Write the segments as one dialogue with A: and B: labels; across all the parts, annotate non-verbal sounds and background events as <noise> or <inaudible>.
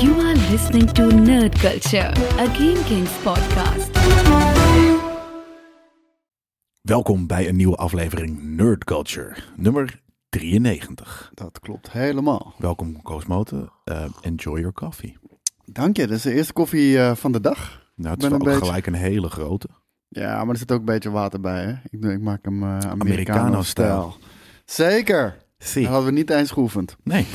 A: You are listening to Nerd Culture, a Game Kings podcast.
B: Welkom bij een nieuwe aflevering Nerd Culture, nummer 93.
C: Dat klopt helemaal.
B: Welkom Koos Moten, Eh, enjoy your coffee.
C: Dank je, dat is de eerste koffie eh, van de dag.
B: Nou, het is
C: Ik ben
B: wel
C: een beetje-
B: gelijk een hele grote.
C: Ja, maar er zit ook een beetje water bij, hè? Ik, doe- ik maak hem eh
B: Americano-stijl.
C: Americano-stijl. Zeker! Dat
B: Zie.
C: hadden we niet eens geoefend.
B: Nee,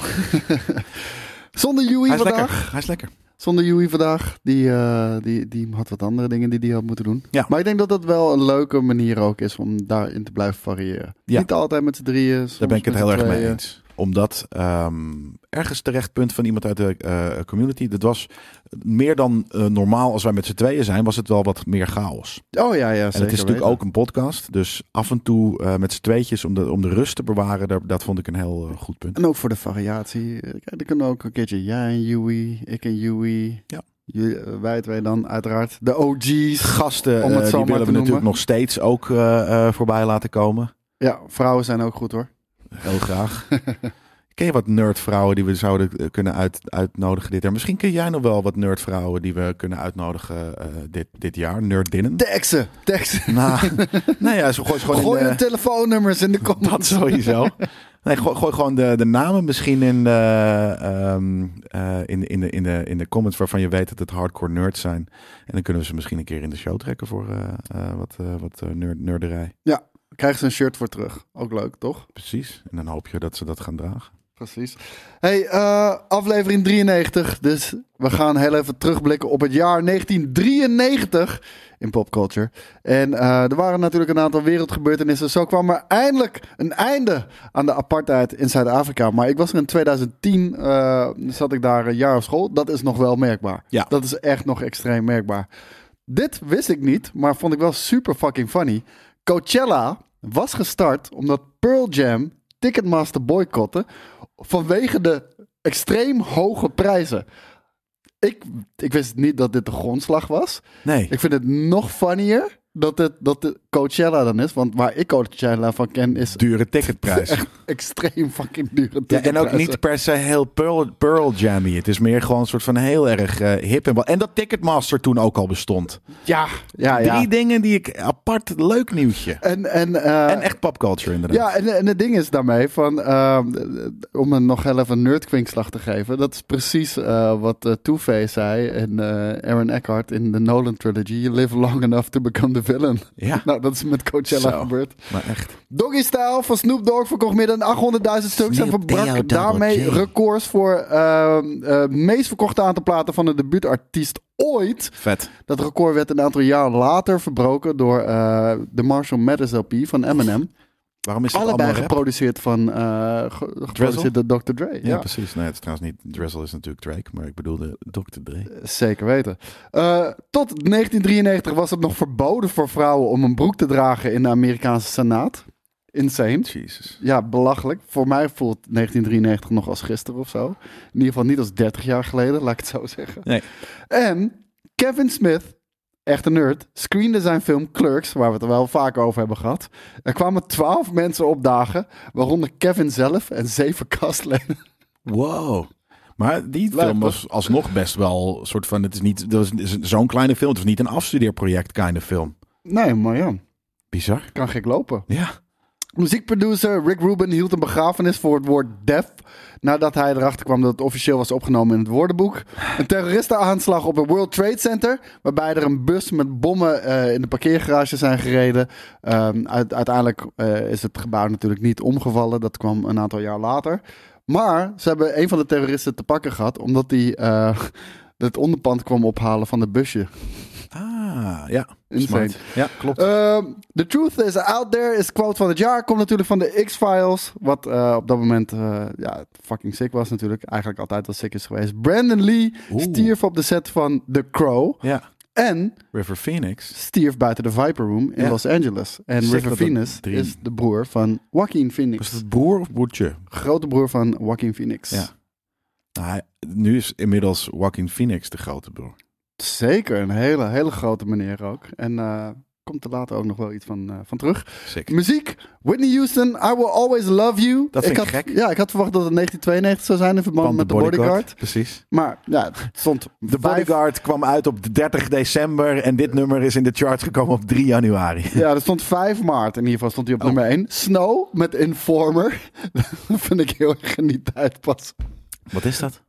C: Zonder
B: hij
C: Joey
B: is
C: vandaag.
B: lekker. Hij is lekker.
C: Zonder Joey vandaag. Die, eh, die, die had wat andere dingen die hij had moeten doen.
B: Ja.
C: Maar ik denk dat dat wel een leuke manier ook is om daarin te blijven variëren.
B: Ja.
C: Niet altijd met z'n drieën.
B: Daar
C: soms
B: ben ik het
C: met eh,
B: heel
C: z'n
B: erg mee
C: tweeën.
B: eens. Omdat ehm, ergens terechtpunt van iemand uit de eh, community, dat was meer dan eh, normaal als wij met z'n tweeën zijn, was het wel wat meer chaos.
C: Oh ja, ja, zeker
B: En het is natuurlijk
C: weten.
B: ook een podcast, dus af en toe eh, met z'n tweetjes om de, om de rust te bewaren, daar, dat vond ik een heel eh, goed punt.
C: En ook voor de variatie. Eh, Kijk, er kunnen ook een keertje jij en Joey, ik en Joey.
B: Ja.
C: Jullie- eh, wij twee dan uiteraard. De OG's.
B: gasten,
C: Om
B: eh,
C: het
B: die
C: zo maar te
B: willen we
C: noemen.
B: natuurlijk nog steeds ook eh, eh, voorbij laten komen.
C: Ja, vrouwen zijn ook goed hoor.
B: Heel
C: <laughs>
B: graag. Ken je wat nerdvrouwen die we zouden eh, kunnen uit, uitnodigen dit jaar? Misschien ken jij nog wel wat nerdvrouwen die we kunnen uitnodigen eh, dit, dit jaar. Nerdinnen.
C: Teksten,
B: <laughs>
C: teksten.
B: nou, nou ja, zo gooi ze gewoon
C: Gooi
B: in
C: hun
B: de-
C: telefoonnummers in de comments. <laughs>
B: Dat sowieso. Nee, gooi, gooi gewoon de, de namen misschien in de, ehm, eh, in, de- in, de, in, de, in de comments waarvan je weet dat het hardcore nerds zijn. En dan kunnen we ze misschien een keer in de show trekken voor eh, eh, wat, eh, wat eh, nerd, nerderij.
C: Krijgen ze een shirt voor terug. Ook leuk, toch?
B: Precies. En dan hoop je dat ze dat gaan dragen.
C: Precies. Hey, eh, aflevering 93. Dus we gaan heel even terugblikken op het jaar 1993 in popculture. En eh, er waren natuurlijk een aantal wereldgebeurtenissen. Zo kwam er eindelijk een einde aan de apartheid in Zuid-Afrika. Maar ik was er in 2010, eh, zat ik daar een jaar op school. Dat is nog wel merkbaar.
B: Ja.
C: Dat is echt nog extreem merkbaar. Dit wist ik niet, maar vond ik wel super fucking funny. Coachella was gestart omdat Pearl Jam Ticketmaster boycotte vanwege de extreem hoge prijzen. Ik, ik wist niet dat dit de grondslag was.
B: Nee.
C: Ik vind het nog funnier dat het dat de Coachella dan is. Want waar ik Coachella van ken
B: <laughs>
C: is
B: Dure ticketprijs.
C: echt extreem fucking dure
B: Ja, en ook
C: ticketprijzen.
B: niet per se heel Pearl, Pearl Jammy. Het is meer gewoon een soort van heel erg eh, hip en wel. En dat Ticketmaster toen ook al bestond.
C: Ja, ja, ja.
B: Drie dingen die ik apart leuk nieuwtje.
C: En, en, eh,
B: En echt popculture inderdaad.
C: Ja, en, en het ding is daarmee van, ehm, om een nog heel even een nerdkwinkslag te geven, dat is precies eh, wat eh, Two-Face zei en eh, Aaron Eckhart in de Nolan trilogy, you live long enough to become the villain.
B: Ja.
C: Nou, dat is met Coachella
B: Zo.
C: gebeurd.
B: Maar echt.
C: Doggy Style van Snoop Dogg verkocht meer dan 800.000 stuks en
B: Snoop
C: verbrak
B: D.O.
C: daarmee
B: Double J.
C: records voor ehm, eh, meest verkochte aantal platen van een debuutartiest ooit.
B: Vet.
C: Dat record werd een aantal jaar later verbroken door eh, de Marshall Mathers LP van Eminem.
B: Waarom is dat
C: Allebei
B: allemaal rap?
C: geproduceerd van eh, ge- geproduceerd door Dr. Dre. Ja,
B: Ja, precies. Nee, het is trouwens niet... Drizzle is natuurlijk Drake, maar ik bedoelde Dr. Dre.
C: zeker weten. Eh, tot 1993 was het nog verboden voor vrouwen om een broek te dragen in de Amerikaanse Senaat. Insane.
B: Jesus.
C: Ja, belachelijk. Voor mij voelt 1993 nog als gisteren of zo. In ieder geval niet als 30 jaar geleden, laat ik het zo zeggen.
B: Nee.
C: En Kevin Smith, echt een nerd, screende zijn film Clerks, waar we het er wel vaak over hebben gehad. Er kwamen 12 mensen opdagen, waaronder Kevin zelf en zeven <laughs> kastleden.
B: Wow. Maar die film
C: toch?
B: was alsnog best wel een soort van... Het is niet dat was zo'n kleine film. Het was niet een afstudeerproject kind of film.
C: Nee, maar ja,
B: Bizar.
C: kan gek lopen.
B: Ja.
C: Muziekproducer Rick Rubin hield een begrafenis voor het woord def. Nadat hij erachter kwam dat het officieel was opgenomen in het woordenboek. Een terroristenaanslag op het World Trade Center. Waarbij er een bus met bommen eh, in de parkeergarage zijn gereden. Ehm, uit- uiteindelijk eh, is het gebouw natuurlijk niet omgevallen. Dat kwam een aantal jaar later. Maar ze hebben een van de terroristen te pakken gehad. Omdat hij eh, <laughs> het onderpand kwam ophalen van de busje.
B: Ah, ja.
C: Insane.
B: Smart. Ja, klopt.
C: Ehm, the truth is out there is quote van het jaar. Komt natuurlijk van de X-Files. Wat eh, op dat moment eh, ja, fucking sick was natuurlijk. Eigenlijk altijd wel sick is geweest. Brandon Lee
B: Oeh.
C: stierf op de set van The Crow.
B: ja.
C: En
B: River Phoenix.
C: stierf buiten de Viper Room in
B: Ja.
C: Los Angeles. En
B: Sick
C: River
B: dat dat
C: Phoenix
B: drie-
C: is de broer van Joaquin Phoenix.
B: Was het broer of broertje?
C: Grote broer van Joaquin Phoenix.
B: Ja. Nou, hij- nu is inmiddels Joaquin Phoenix de grote broer.
C: Zeker, een hele, hele grote meneer ook. En eh, Komt er later ook nog wel iets van, eh, van terug.
B: Sick.
C: Muziek, Whitney Houston, I Will Always Love You.
B: Dat vind ik
C: had,
B: gek.
C: Ja, ik had verwacht dat het 1992 zou zijn in verband
B: Want
C: met de bodyguard.
B: Precies.
C: Maar ja, het
B: <laughs>
C: stond
B: De Bodyguard kwam uit op 30 december en dit nummer is in de charts gekomen op 3 januari.
C: Ja, er stond 5 maart in ieder geval stond hij
B: Oh.
C: op nummer 1. Snow met Informer. <laughs> dat vind ik heel erg niet uitpassen.
B: Wat is dat?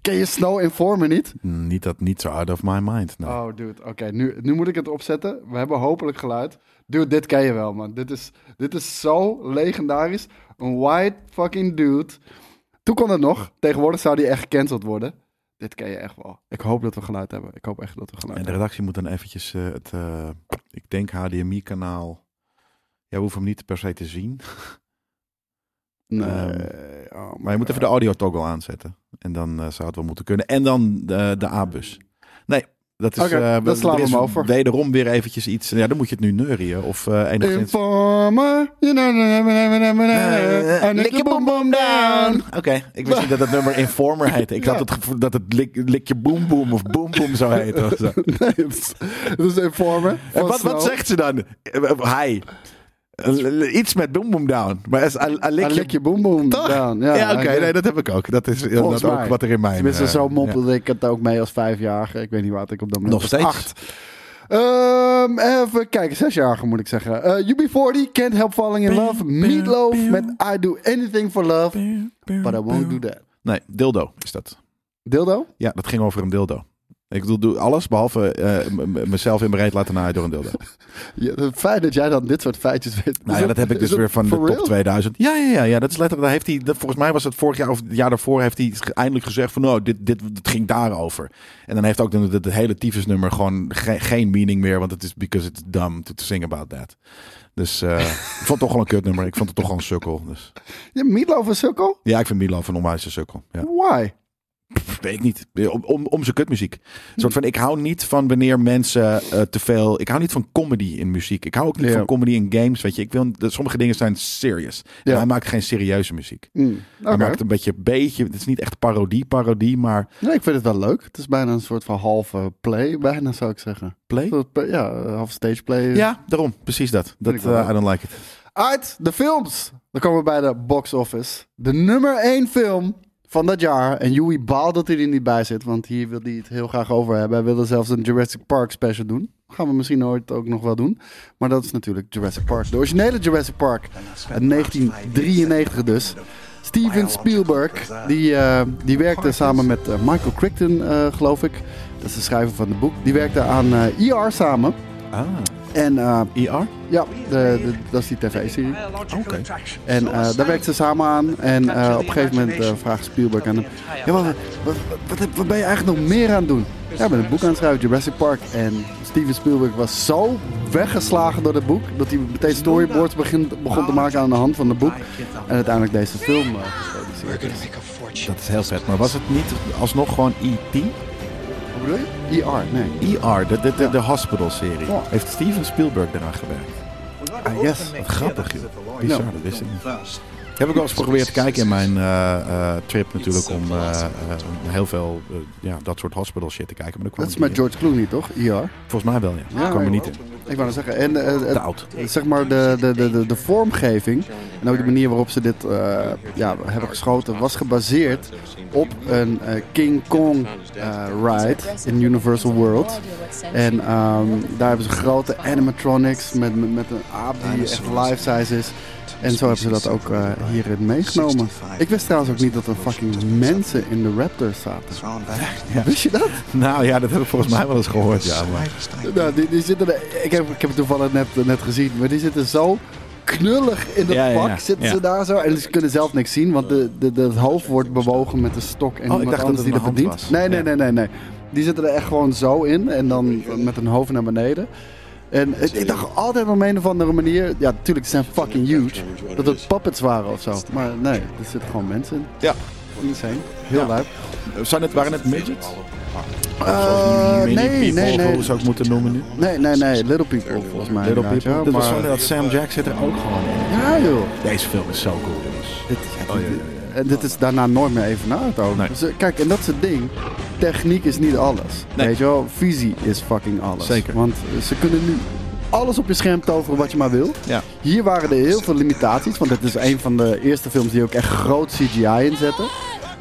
C: Ken je Snow Informer niet?
B: Niet dat niet zo out of my mind. Nou, nee.
C: Oh, dude. Oké, nu, nu moet ik het opzetten. We hebben hopelijk geluid. Dude, dit ken je wel, man. Dit is, dit is zo legendarisch. Een white fucking dude. Toen kon het nog. Tegenwoordig zou die echt gecanceld worden. Dit ken je echt wel. Ik hoop dat we geluid hebben. Ik hoop echt dat we geluid
B: En de
C: hebben.
B: redactie moet dan eventjes eh, het, eh, ik denk HDMI-kanaal. Ja, we hoeven hem niet per se te zien.
C: Nee. oh,
B: eh, Maar je moet even de audio toggle aanzetten. En dan eh, zou het wel moeten kunnen. En dan de, de A-bus. Nee, dat is...
C: Oké,
B: eh,
C: dan
B: we-
C: slaan
B: er
C: we
B: is
C: hem over.
B: Wederom weer eventjes iets... Ja, dan moet je het nu neurien. Of eh enigszins...
C: Informer. You know, na, na, na, na, na, na, na. I lick your boom boom down.
B: Oké, ik wist niet dat het nummer Informer heette. Ik
C: Ja.
B: had het gevoel dat het lik, Likje Boom Boom of Boom Boom
C: <laughs>
B: zou heten. of zo.
C: Nee, het is- het is Informer.
B: En
C: van
B: wat, wat
C: Snow.
B: zegt ze dan? Hij. Iets met Boom Boom Down. Maar als, I- I lick
C: I
B: your
C: lick your boom boom
B: Toch?
C: down.
B: Ja,
C: Ja,
B: oké,
C: I-
B: nee, dat heb ik ook. Dat is inderdaad
C: Volgens mij.
B: ook wat er in eh, mij.
C: Tenminste, zo
B: mompel.
C: mompelde ik het ook mee als vijfjarige. Ik weet niet wat ik op dat moment
B: Nog
C: was.
B: steeds.
C: Acht. Ehm, even kijken, zesjarige moet ik zeggen. Eh, UB40, Can't Help Falling in Love. Meatloaf met I Do Anything For Love. But I Won't Do That.
B: Nee, dildo is dat.
C: Dildo?
B: Ja, dat ging over een dildo. Ik bedoel, doe alles behalve eh, m- m- mezelf in bereid laten naaien door een dildo.
C: Ja, het feit dat jij dan dit soort feitjes weet.
B: Nou ja, dat heb ik dus weer van de top 2000. Ja, ja, ja, ja, dat is letterlijk. Daar heeft hij, dat, volgens mij was het vorig jaar of het jaar daarvoor, heeft hij ge- eindelijk gezegd van, nou, dit, dit, dit ging daarover. En dan heeft ook de- het hele tyfusnummer gewoon ge- geen meaning meer, want het is because it's dumb to sing about that. Dus eh, ik vond het toch wel een kutnummer. Ik vond het toch wel een sukkel. Dus.
C: Ja, Meatloaf en Sukkel?
B: Ja, ik vind Milan een onwijze sukkel. Ja.
C: Why?
B: Weet ik niet. Om, om, om zijn kutmuziek. Een soort van, ik hou niet van wanneer mensen eh, te veel... Ik hou niet van comedy in muziek. Ik hou ook niet
C: Ja.
B: van comedy in games. Weet je, ik wil, dat- sommige dingen zijn serious.
C: Ja.
B: En hij maakt geen serieuze muziek.
C: Hm,
B: Hij
C: oké.
B: maakt een beetje, beetje... Het is niet echt parodie, parodie, maar...
C: Nee, ik vind het wel leuk. Het is bijna een soort van halve play, bijna zou ik zeggen.
B: Play?
C: Een soort play- Ja, eh, half stage play.
B: Ja, daarom. Precies dat. dat
C: ik wel
B: eh,
C: leuk.
B: I don't like it.
C: Uit de films. Dan komen we bij de box office. De nummer 1 film van dat jaar. En Joey baalt dat hij er niet bij zit, want hier wil hij het heel graag over hebben. Hij wilde zelfs een Jurassic Park special doen. Gaan we misschien ooit ook nog wel doen. Maar dat is natuurlijk Jurassic Park. De originele Jurassic Park. Uit 1993 dus. Steven Spielberg, die, eh, die werkte samen met eh, Michael Crichton, eh, geloof ik. Dat is de schrijver van het boek. Die werkte aan eh, ER samen.
B: Ah,
C: En eh,
B: ER?
C: ja, de, de- dat is die tv-serie.
B: Oké.
C: En
B: uh,
C: eh, daar werkt ze samen aan. En eh, op een gegeven moment eh, vraagt Spielberg aan hem... Ja, wat, wat, wat, heb- wat ben je eigenlijk nog meer aan het doen? Ja, ik ben een boek aan het schrijven, Jurassic Park. En Steven Spielberg was zo weggeslagen door het boek... dat hij meteen storyboards begin, begon te maken aan de hand van het boek. En uiteindelijk deze film eh, geproduceerd is.
B: Dat is heel vet. Maar was het niet alsnog gewoon E E.T.?
C: Wat bedoel je? ER, E nee.
B: ER, de, de, de, de hospital-serie.
C: Ja.
B: Heeft Steven Spielberg eraan gewerkt?
C: Ah, yes.
B: Wat grappig, joh. Bizar,
C: Ja.
B: dat wist ik niet. Heb ik wel eens geprobeerd te kijken in mijn eh, eh, trip natuurlijk om eh, eh, om heel veel eh, ja, dat soort hospital shit te kijken. Maar dat kwam
C: Dat
B: ik
C: is met
B: niet in.
C: George Clooney, toch? E ER.
B: Volgens mij wel, Ah, ja. Dat kwam er niet <laughs> in.
C: Ik wou net zeggen. En eh, het-
B: Te oud.
C: zeg maar de, de, de, de, de vormgeving en ook de manier waarop ze dit eh, ja, hebben geschoten was gebaseerd op een eh, King Kong eh, ride in Universal World. En ehm, daar hebben ze grote animatronics met, met, met een aap die echt life size is. En zo hebben ze dat ook eh, hierin meegenomen. Ik wist trouwens ook niet dat er fucking mensen in de Raptors zaten. Wist je dat?
B: Nou ja, dat heb ik volgens mij wel eens gehoord, ja. Maar
C: Nou, die, die zitten er- ik, heb, ik heb het toevallig net, net gezien, maar die zitten zo knullig in het
B: Ja, ja,
C: pak.
B: ja.
C: Zitten ze
B: Ja.
C: daar zo en ze kunnen zelf niks zien, want de, de, de, het hoofd wordt bewogen met de stok en
B: Oh, ik
C: iemand
B: dacht dat
C: anders
B: het
C: die
B: een
C: dat
B: hand
C: bedient.
B: was.
C: Nee, nee,
B: Ja.
C: nee, nee, nee. Die zitten er echt gewoon zo in en dan met hun hoofd naar beneden. En het- ik dacht altijd op een of andere manier, ja, natuurlijk, ze zijn fucking huge, dat het puppets waren of zo. Maar nee, er zitten gewoon mensen in.
B: ja,
C: Insane. Heel
B: Ja.
C: lijp.
B: zijn het, waren het midgets?
C: Eh,
B: Mini
C: nee,
B: people,
C: nee, nee.
B: hoe zou ik moeten noemen nu?
C: Nee, nee, nee. Little People volgens mij.
B: Little
C: inderdaad,
B: people.
C: ja,
B: Dit was
C: maar-
B: van dat Sam Jack zit er ook gewoon in.
C: Ja joh.
B: Deze film is zo cool, jongens.
C: Dit, En dit is daarna nooit meer even na het over.
B: Nee.
C: Dus, eh, kijk, en dat is het ding. Techniek is niet alles.
B: Nee.
C: Weet je wel, visie is fucking alles.
B: Zeker.
C: Want eh, ze kunnen nu alles op je scherm toveren wat je maar wil.
B: Ja.
C: Hier waren er heel veel limitaties, want het is een van de eerste films die ook echt groot CGI inzetten.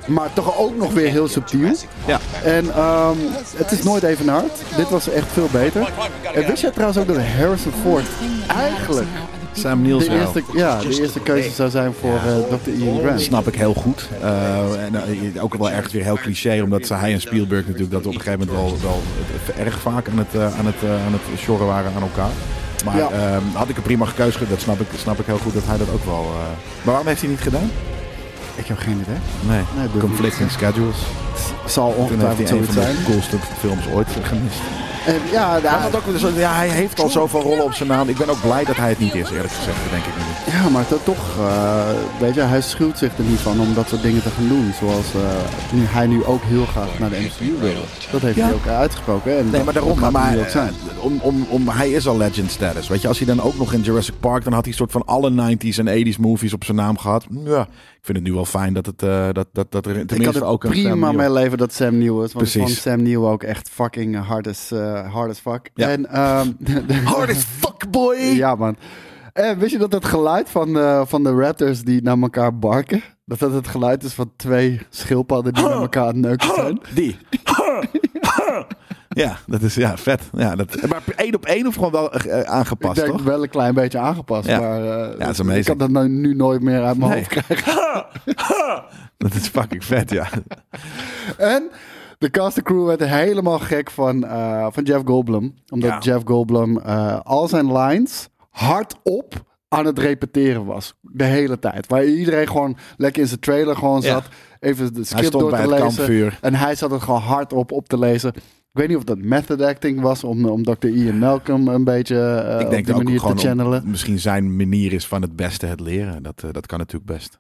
C: Maar toch ook nog weer heel subtiel.
B: Ja.
C: En ehm, het is nooit even hard. Dit was echt veel beter. En wist jij trouwens ook dat Harrison Ford eigenlijk
B: Sam Niels
C: de
B: wel.
C: eerste, ja, de eerste keuze zou zijn voor eh, Dr. Ian Grant?
B: Snap ik heel goed. Eh, en, eh, ook wel ergens weer heel cliché, omdat ze- hij en Spielberg natuurlijk dat op een gegeven moment wel, wel erg vaak aan het, eh, aan het, eh, aan het sjorren waren aan elkaar. Maar
C: Ja.
B: ehm, had ik een prima keuze, gehad, dat snap ik, snap ik heel goed dat hij dat ook wel. eh, Maar waarom heeft hij niet gedaan?
C: Ik heb geen idee.
B: Nee,
C: Nee, dat
B: conflicting schedules.
C: Zal
B: Toen heeft
C: ongetwijfeld
B: hij een
C: zoiets
B: van de
C: zijn.
B: coolste films ooit gemist.
C: En ja, de-
B: Hij, had ook, dus, ja, hij heeft al zoveel rollen op zijn naam. Ik ben ook blij dat hij het niet is, eerlijk gezegd, denk ik nu.
C: ja, maar dat toch, eh, weet je, hij schuilt zich er niet van om dat soort dingen te gaan doen. Zoals eh, nu, hij nu ook heel graag naar de MCU wil. Dat heeft
B: Ja.
C: hij ook uitgesproken. En
B: Nee, maar daarom.
C: gaat
B: Maar,
C: hij nu ook zijn.
B: eh, om, om, om, hij is al legend status. Weet je, als hij dan ook nog in Jurassic Park. dan had hij soort van alle 90s en 80s movies op zijn naam gehad. Ja, ik vind het nu wel fijn dat, het, eh, dat, dat, dat er
C: Ik kan
B: tenminste
C: er
B: ook een. Sam
C: prima
B: Neill-
C: mee leven dat Sam Neill is. Want ik vond
B: Precies.
C: Sam Neill ook echt fucking hard as, eh, hard as fuck.
B: Ja.
C: En, ehm, <laughs> de- de-
B: Hard as fuck, boy!
C: <laughs> ja, man. En wist je dat het geluid van, eh, van de raptors die naar elkaar barken... dat dat het geluid is van twee schildpadden die naar elkaar aan het neuken zijn?
B: Die. ja, dat is ja, vet. Ja, dat, maar één op één of gewoon wel eh, aangepast,
C: ik denk
B: toch?
C: wel een klein beetje aangepast,
B: Ja.
C: maar eh,
B: dat is amazing.
C: ik kan dat nou, nu nooit meer uit mijn hoofd krijgen.
B: Dat is fucking vet, ja.
C: Eh, En de cast en crew werd helemaal gek van, eh, van Jeff Goldblum. Omdat
B: Ja.
C: Jeff Goldblum eh, al zijn lines hardop aan het repeteren was. De hele tijd. Waar iedereen gewoon lekker in zijn trailer gewoon
B: Ja.
C: zat. Even de
B: Hij
C: script
B: stond
C: door
B: bij
C: te
B: het
C: lezen.
B: kampvuur.
C: En hij zat het gewoon hardop op te lezen. Ik weet niet of dat method acting was om, om Dr. Ian Malcolm een beetje eh,
B: Ik
C: op
B: denk
C: die
B: ook
C: manier te
B: gewoon om-
C: channelen.
B: misschien zijn manier is van het beste het leren. Dat, eh, dat kan natuurlijk best.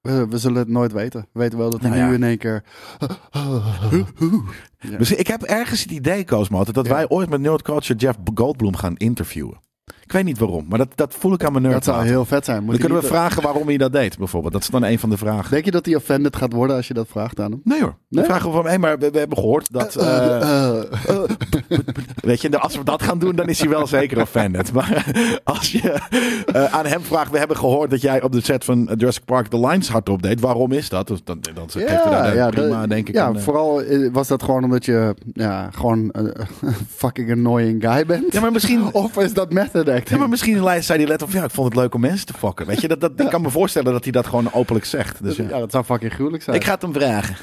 C: We, we zullen het nooit weten. We weten wel dat hij
B: Nou ja.
C: nu in één keer... Ja.
B: Misschien, ik heb ergens het idee, Koosmo, altijd, dat
C: Ja.
B: wij ooit met Nerd Culture Jeff Goldblum gaan interviewen. Ik weet niet waarom, maar dat, dat voel ik aan mijn nerd.
C: Dat zou
B: laten.
C: heel vet zijn. Moet
B: Dan
C: hij
B: kunnen we
C: niet- eh,
B: vragen waarom hij dat deed, bijvoorbeeld. Dat is dan een van de vragen.
C: Denk je dat hij offended gaat worden als je dat vraagt aan hem?
B: Nee hoor. Dan
C: Nee?
B: vragen we van, hé, maar we, we hebben gehoord dat... eh, <laughs> weet je, als we dat gaan doen, dan is hij wel zeker offended. Maar als je eh, aan hem vraagt, we hebben gehoord dat jij op de set van Jurassic Park de lines hardop deed. Waarom is dat? Dus dan, dan geeft hij daar
C: ja,
B: prima,
C: dat-
B: denk ik.
C: Ja,
B: een, eh,
C: vooral eh, was dat gewoon omdat je ja, gewoon een <laughs> fucking annoying guy bent.
B: ja, maar misschien...
C: Of is dat method acting?
B: Ja, maar misschien zei hij let op, ja, ik vond het leuk om mensen te fokken. Weet je, dat, dat, ik kan me voorstellen dat hij dat gewoon openlijk zegt. Dus, ja.
C: ja, dat zou fucking gruwelijk zijn.
B: Ik ga het hem vragen.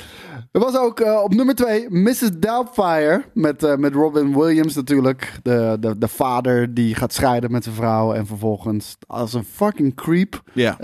C: Er was ook eh, op nummer 2 Mrs. Doubtfire. Met, eh, met Robin Williams natuurlijk. De, de, de vader die gaat scheiden met zijn vrouw. En vervolgens als een fucking creep.
B: Ja.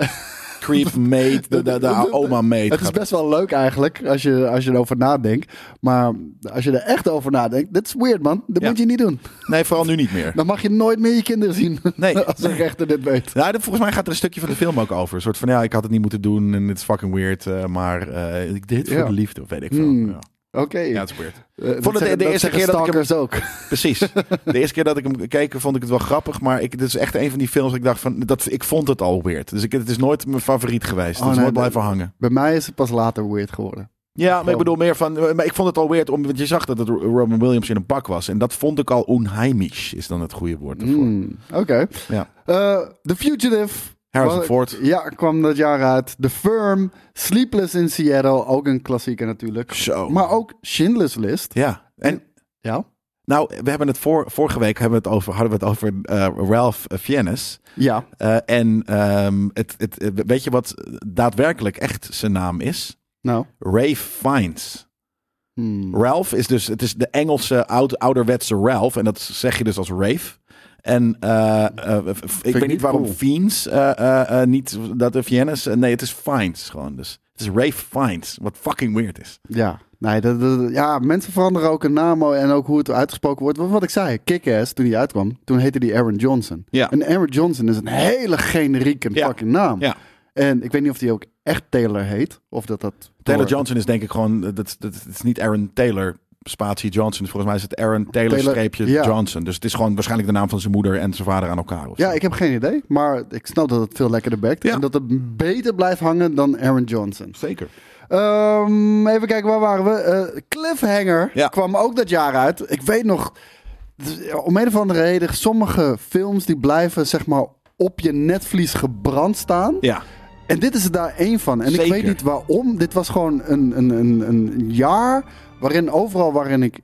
B: Creep mate, de, de, <laughs> de oma mate.
C: Het is best wel leuk eigenlijk. Als je, als je erover nadenkt. Maar als je er echt over nadenkt. Dit is weird man. Dat
B: Ja.
C: moet je niet doen.
B: Nee, vooral nu niet meer.
C: Dan mag je nooit meer je kinderen zien.
B: Nee.
C: <laughs> als een rechter dit weet.
B: Nou, dat- volgens mij gaat er een stukje van de film ook over. Een soort van, ja, ik had het niet moeten doen en het is fucking weird. eh, maar eh, ik deed het voor
C: Ja.
B: de liefde, of weet ik veel.
C: Hmm.
B: Ja.
C: Oké.
B: ja, het is weird.
C: Eh, dat
B: Vond het de-
C: zeggen-
B: de
C: dat
B: eerste
C: zeggen
B: keer dat ik hem-
C: stalkers ook.
B: Precies. De eerste keer dat ik hem keek, vond ik het wel grappig. Maar ik, dit is echt een van die films dat ik dacht van, dat, ik vond het al weird. Dus ik, het is nooit mijn favoriet geweest.
C: Oh,
B: het is
C: nee,
B: nooit
C: dat-
B: blijven hangen.
C: Bij mij is het pas later weird geworden.
B: Ja, maar ik bedoel meer van. Maar ik vond het al weird, om, want je zag dat het Robin Williams in een pak was. En dat vond ik al onheimisch, is dan het goede woord ervoor.
C: Hmm, Oké.
B: Ja.
C: Eh, The Fugitive.
B: Harrison
C: Wa-
B: Ford.
C: Ja, kwam dat jaar uit. The Firm. Sleepless in Seattle. Ook een klassieker natuurlijk.
B: Zo.
C: Maar ook Schindler's List.
B: Ja. En
C: Ja.
B: nou, we hebben het voor, vorige week hebben we het over, hadden we het over eh, Ralph Fiennes.
C: Ja.
B: Eh, en ehm, het, het, eh, weet je wat daadwerkelijk echt zijn naam is?
C: Nou.
B: Ray Fiennes.
C: Hmm.
B: Ralph is dus, het is de Engelse oud, ouderwetse Ralph. En dat zeg je dus als Rave. En eh, eh, f- ik weet
C: niet
B: niet waarom
C: cool.
B: Fiends, eh, eh, eh, niet dat de Viennes. eh, nee, het is Finds gewoon. Dus het is Rave Finds, wat fucking weird is.
C: Ja. Nee, dat, dat- ja, mensen veranderen ook een naam en ook hoe het uitgesproken wordt. Wat, wat ik zei, Kick-Ass, toen die uitkwam, toen heette die Aaron Johnson.
B: Ja.
C: En Aaron Johnson is een hele generieke
B: Ja.
C: fucking naam.
B: Ja.
C: En ik weet niet of die ook echt Taylor heet, of dat dat...
B: Taylor
C: door-
B: Johnson is denk ik gewoon, eh, dat, dat, het is niet Aaron Taylor, spatie Johnson. Dus volgens mij is het Aaron Taylor,
C: Taylor,
B: streepje
C: ja.
B: Johnson. Dus het is gewoon waarschijnlijk de naam van zijn moeder en zijn vader aan elkaar. of
C: Ja,
B: zo.
C: ik heb geen idee, maar ik snap dat het veel lekkerder bekt.
B: Ja.
C: En dat het beter blijft hangen dan Aaron Johnson.
B: Zeker.
C: Ehm, even kijken, waar waren we? Eh, Cliffhanger
B: Ja.
C: kwam ook dat jaar uit. Ik weet nog, Dus, Om een of andere reden, sommige films die blijven zeg maar op je netvlies gebrand staan.
B: Ja.
C: En dit is er daar één van. En ik
B: Zeker.
C: weet niet waarom. Dit was gewoon een, een, een, een jaar waarin overal waarin ik...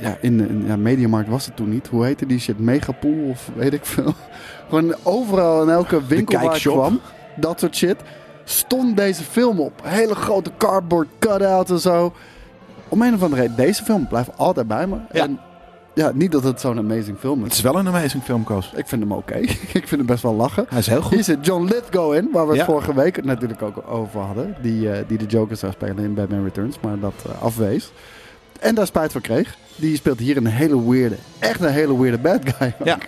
C: Ja, in, in ja, Mediamarkt was het toen niet. Hoe heette die shit? Megapool of weet ik veel. <laughs> Gewoon overal in elke winkel waar ik
B: kijkshop.
C: kwam. Dat soort shit. Stond deze film op. Hele grote cardboard cutout en zo. Om een of andere reden. Deze film blijft altijd bij me.
B: Ja.
C: En ja, niet dat het zo'n amazing film
B: Het
C: is.
B: is wel een amazing film, Koos.
C: Ik vind hem oké. <laughs> ik vind hem best wel lachen.
B: Hij is heel
C: Hier
B: goed.
C: zit John Lithgow in, waar we het
B: Ja.
C: vorige week natuurlijk ook over hadden. Die, eh, die de Joker zou spelen in Batman Returns, maar dat eh, afwees. En daar spijt van kreeg. Die speelt hier een hele weirde, echt een hele weirde bad guy.
B: Ja.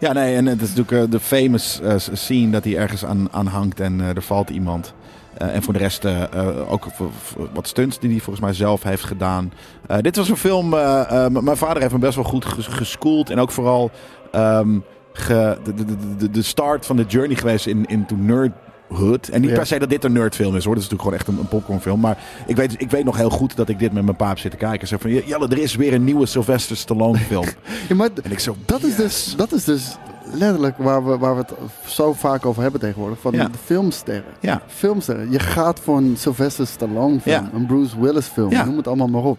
B: Ja, nee, en het is natuurlijk eh, de famous eh, scene dat hij ergens aan, aan hangt en eh, er valt iemand. Eh, en voor de rest eh, eh, ook v- v- wat stunts die hij volgens mij zelf heeft gedaan. Eh, dit was een film, eh, eh, m- mijn vader heeft hem best wel goed ges geschoold. En ook vooral ehm, ge- de, de, de- de, de start van de journey geweest in, into nerdhood. En niet
C: Ja.
B: per se dat dit een nerdfilm is hoor, dat is natuurlijk gewoon echt een, een popcornfilm. Maar ik weet, ik weet nog heel goed dat ik dit met mijn pa heb zitten kijken. Zeg van, Jelle, er is weer een nieuwe Sylvester Stallone film.
C: <laughs> Ja, maar d-
B: en ik zo,
C: dat, is dus, dat is dus letterlijk waar we, waar we het zo vaak over hebben tegenwoordig. Van
B: Ja.
C: de filmsterren.
B: Ja.
C: Filmsterren. Je gaat voor een Sylvester Stallone film,
B: Ja.
C: een Bruce Willis film.
B: Ja.
C: Noem het allemaal maar op.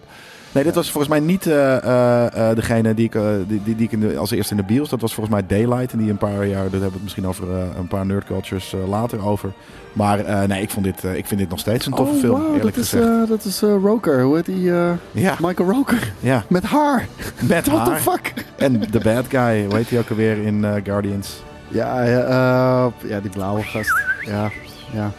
B: Nee, dit was volgens mij niet eh, eh, eh, degene die ik, eh, die, die, die ik in de- als eerste in de bios. Dat was volgens mij Daylight. En die een paar jaar, daar hebben we het misschien over eh, een paar nerdcultures eh, later over. Maar eh, nee, ik, vond dit, eh, ik vind dit nog steeds een toffe
C: oh,
B: film,
C: wauw,
B: eerlijk
C: dat is,
B: gezegd.
C: eh, dat is eh, Roker. Hoe heet die? eh,
B: ja,
C: Michael Roker. <laughs>
B: ja,
C: Met haar.
B: met
C: What the
B: haar.
C: fuck?
B: En de bad guy, hoe heet die ook alweer in eh, Guardians?
C: Ja, ja, eh, ja, die blauwe gast. Ja, ja.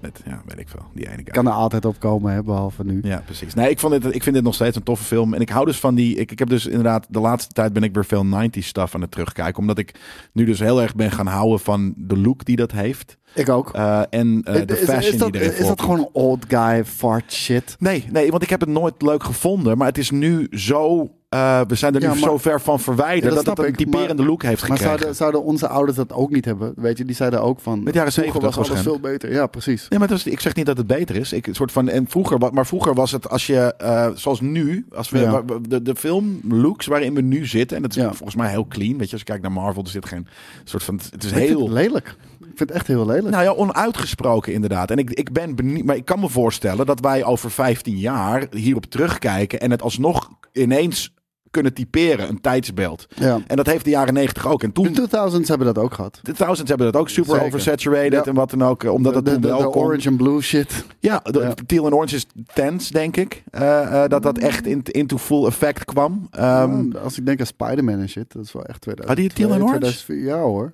B: Met, ja, weet ik veel, die ene guy.
C: Kan er altijd op komen, hè, behalve nu.
B: Ja, precies. Nee, ik, vond dit, ik vind dit nog steeds een toffe film. En ik hou dus van die... Ik, ik heb dus inderdaad... De laatste tijd ben ik weer veel 90s stuff aan het terugkijken. Omdat ik nu dus heel erg ben gaan houden van de look die dat heeft.
C: Ik ook.
B: eh, en eh, de
C: is, is
B: fashion
C: dat,
B: die erin
C: is dat
B: voorkomt.
C: gewoon old guy fart shit?
B: Nee, nee, want ik heb het nooit leuk gevonden. Maar het is nu zo... eh, we zijn er
C: Ja,
B: nu
C: maar-
B: zo ver van verwijderd...
C: Ja, dat
B: dat,
C: snap
B: het een
C: ik, maar-
B: typerende look heeft
C: Maar
B: gekregen.
C: zouden, zouden onze ouders dat ook niet hebben? Weet je, die zeiden ook van...
B: Met jaren
C: vroeger
B: 70
C: was alles veel
B: waarschijnlijk.
C: beter. Ja, precies.
B: Nee, maar dat is- ik zeg niet dat het beter is. Ik, een soort van, en vroeger, wa- maar vroeger was het als je, eh, zoals nu, als we,
C: Ja.
B: wa- wa- de, de film looks waarin we nu zitten, en dat is
C: Ja.
B: volgens mij heel clean. Weet je, als je kijkt naar Marvel, er zit geen soort van, het is
C: Ik vind het
B: heel,
C: lelijk. Ik vind het echt heel lelijk.
B: nou ja, onuitgesproken inderdaad. En ik, ik ben benieuwd, maar ik kan me voorstellen dat wij over 15 jaar hierop terugkijken en het alsnog ineens kunnen typeren, een tijdsbeeld.
C: ja.
B: En dat heeft de jaren 90 ook. En
C: De
B: toen,
C: 2000s hebben dat ook gehad.
B: de thousands hebben dat ook super
C: Zeker.
B: oversaturated
C: Ja.
B: en wat dan ook, eh, omdat
C: De,
B: dat
C: de,
B: toen wel
C: de
B: kon.
C: orange en blue shit.
B: Ja, de,
C: Ja.
B: Teal and Orange is tens, denk ik. Eh, eh, dat dat echt in, into full effect kwam. Ehm,
C: Ja, Oh, als ik denk aan Spider-Man en shit, dat is wel echt 2000.
B: Had die het teal en orange?
C: 2004, ja hoor.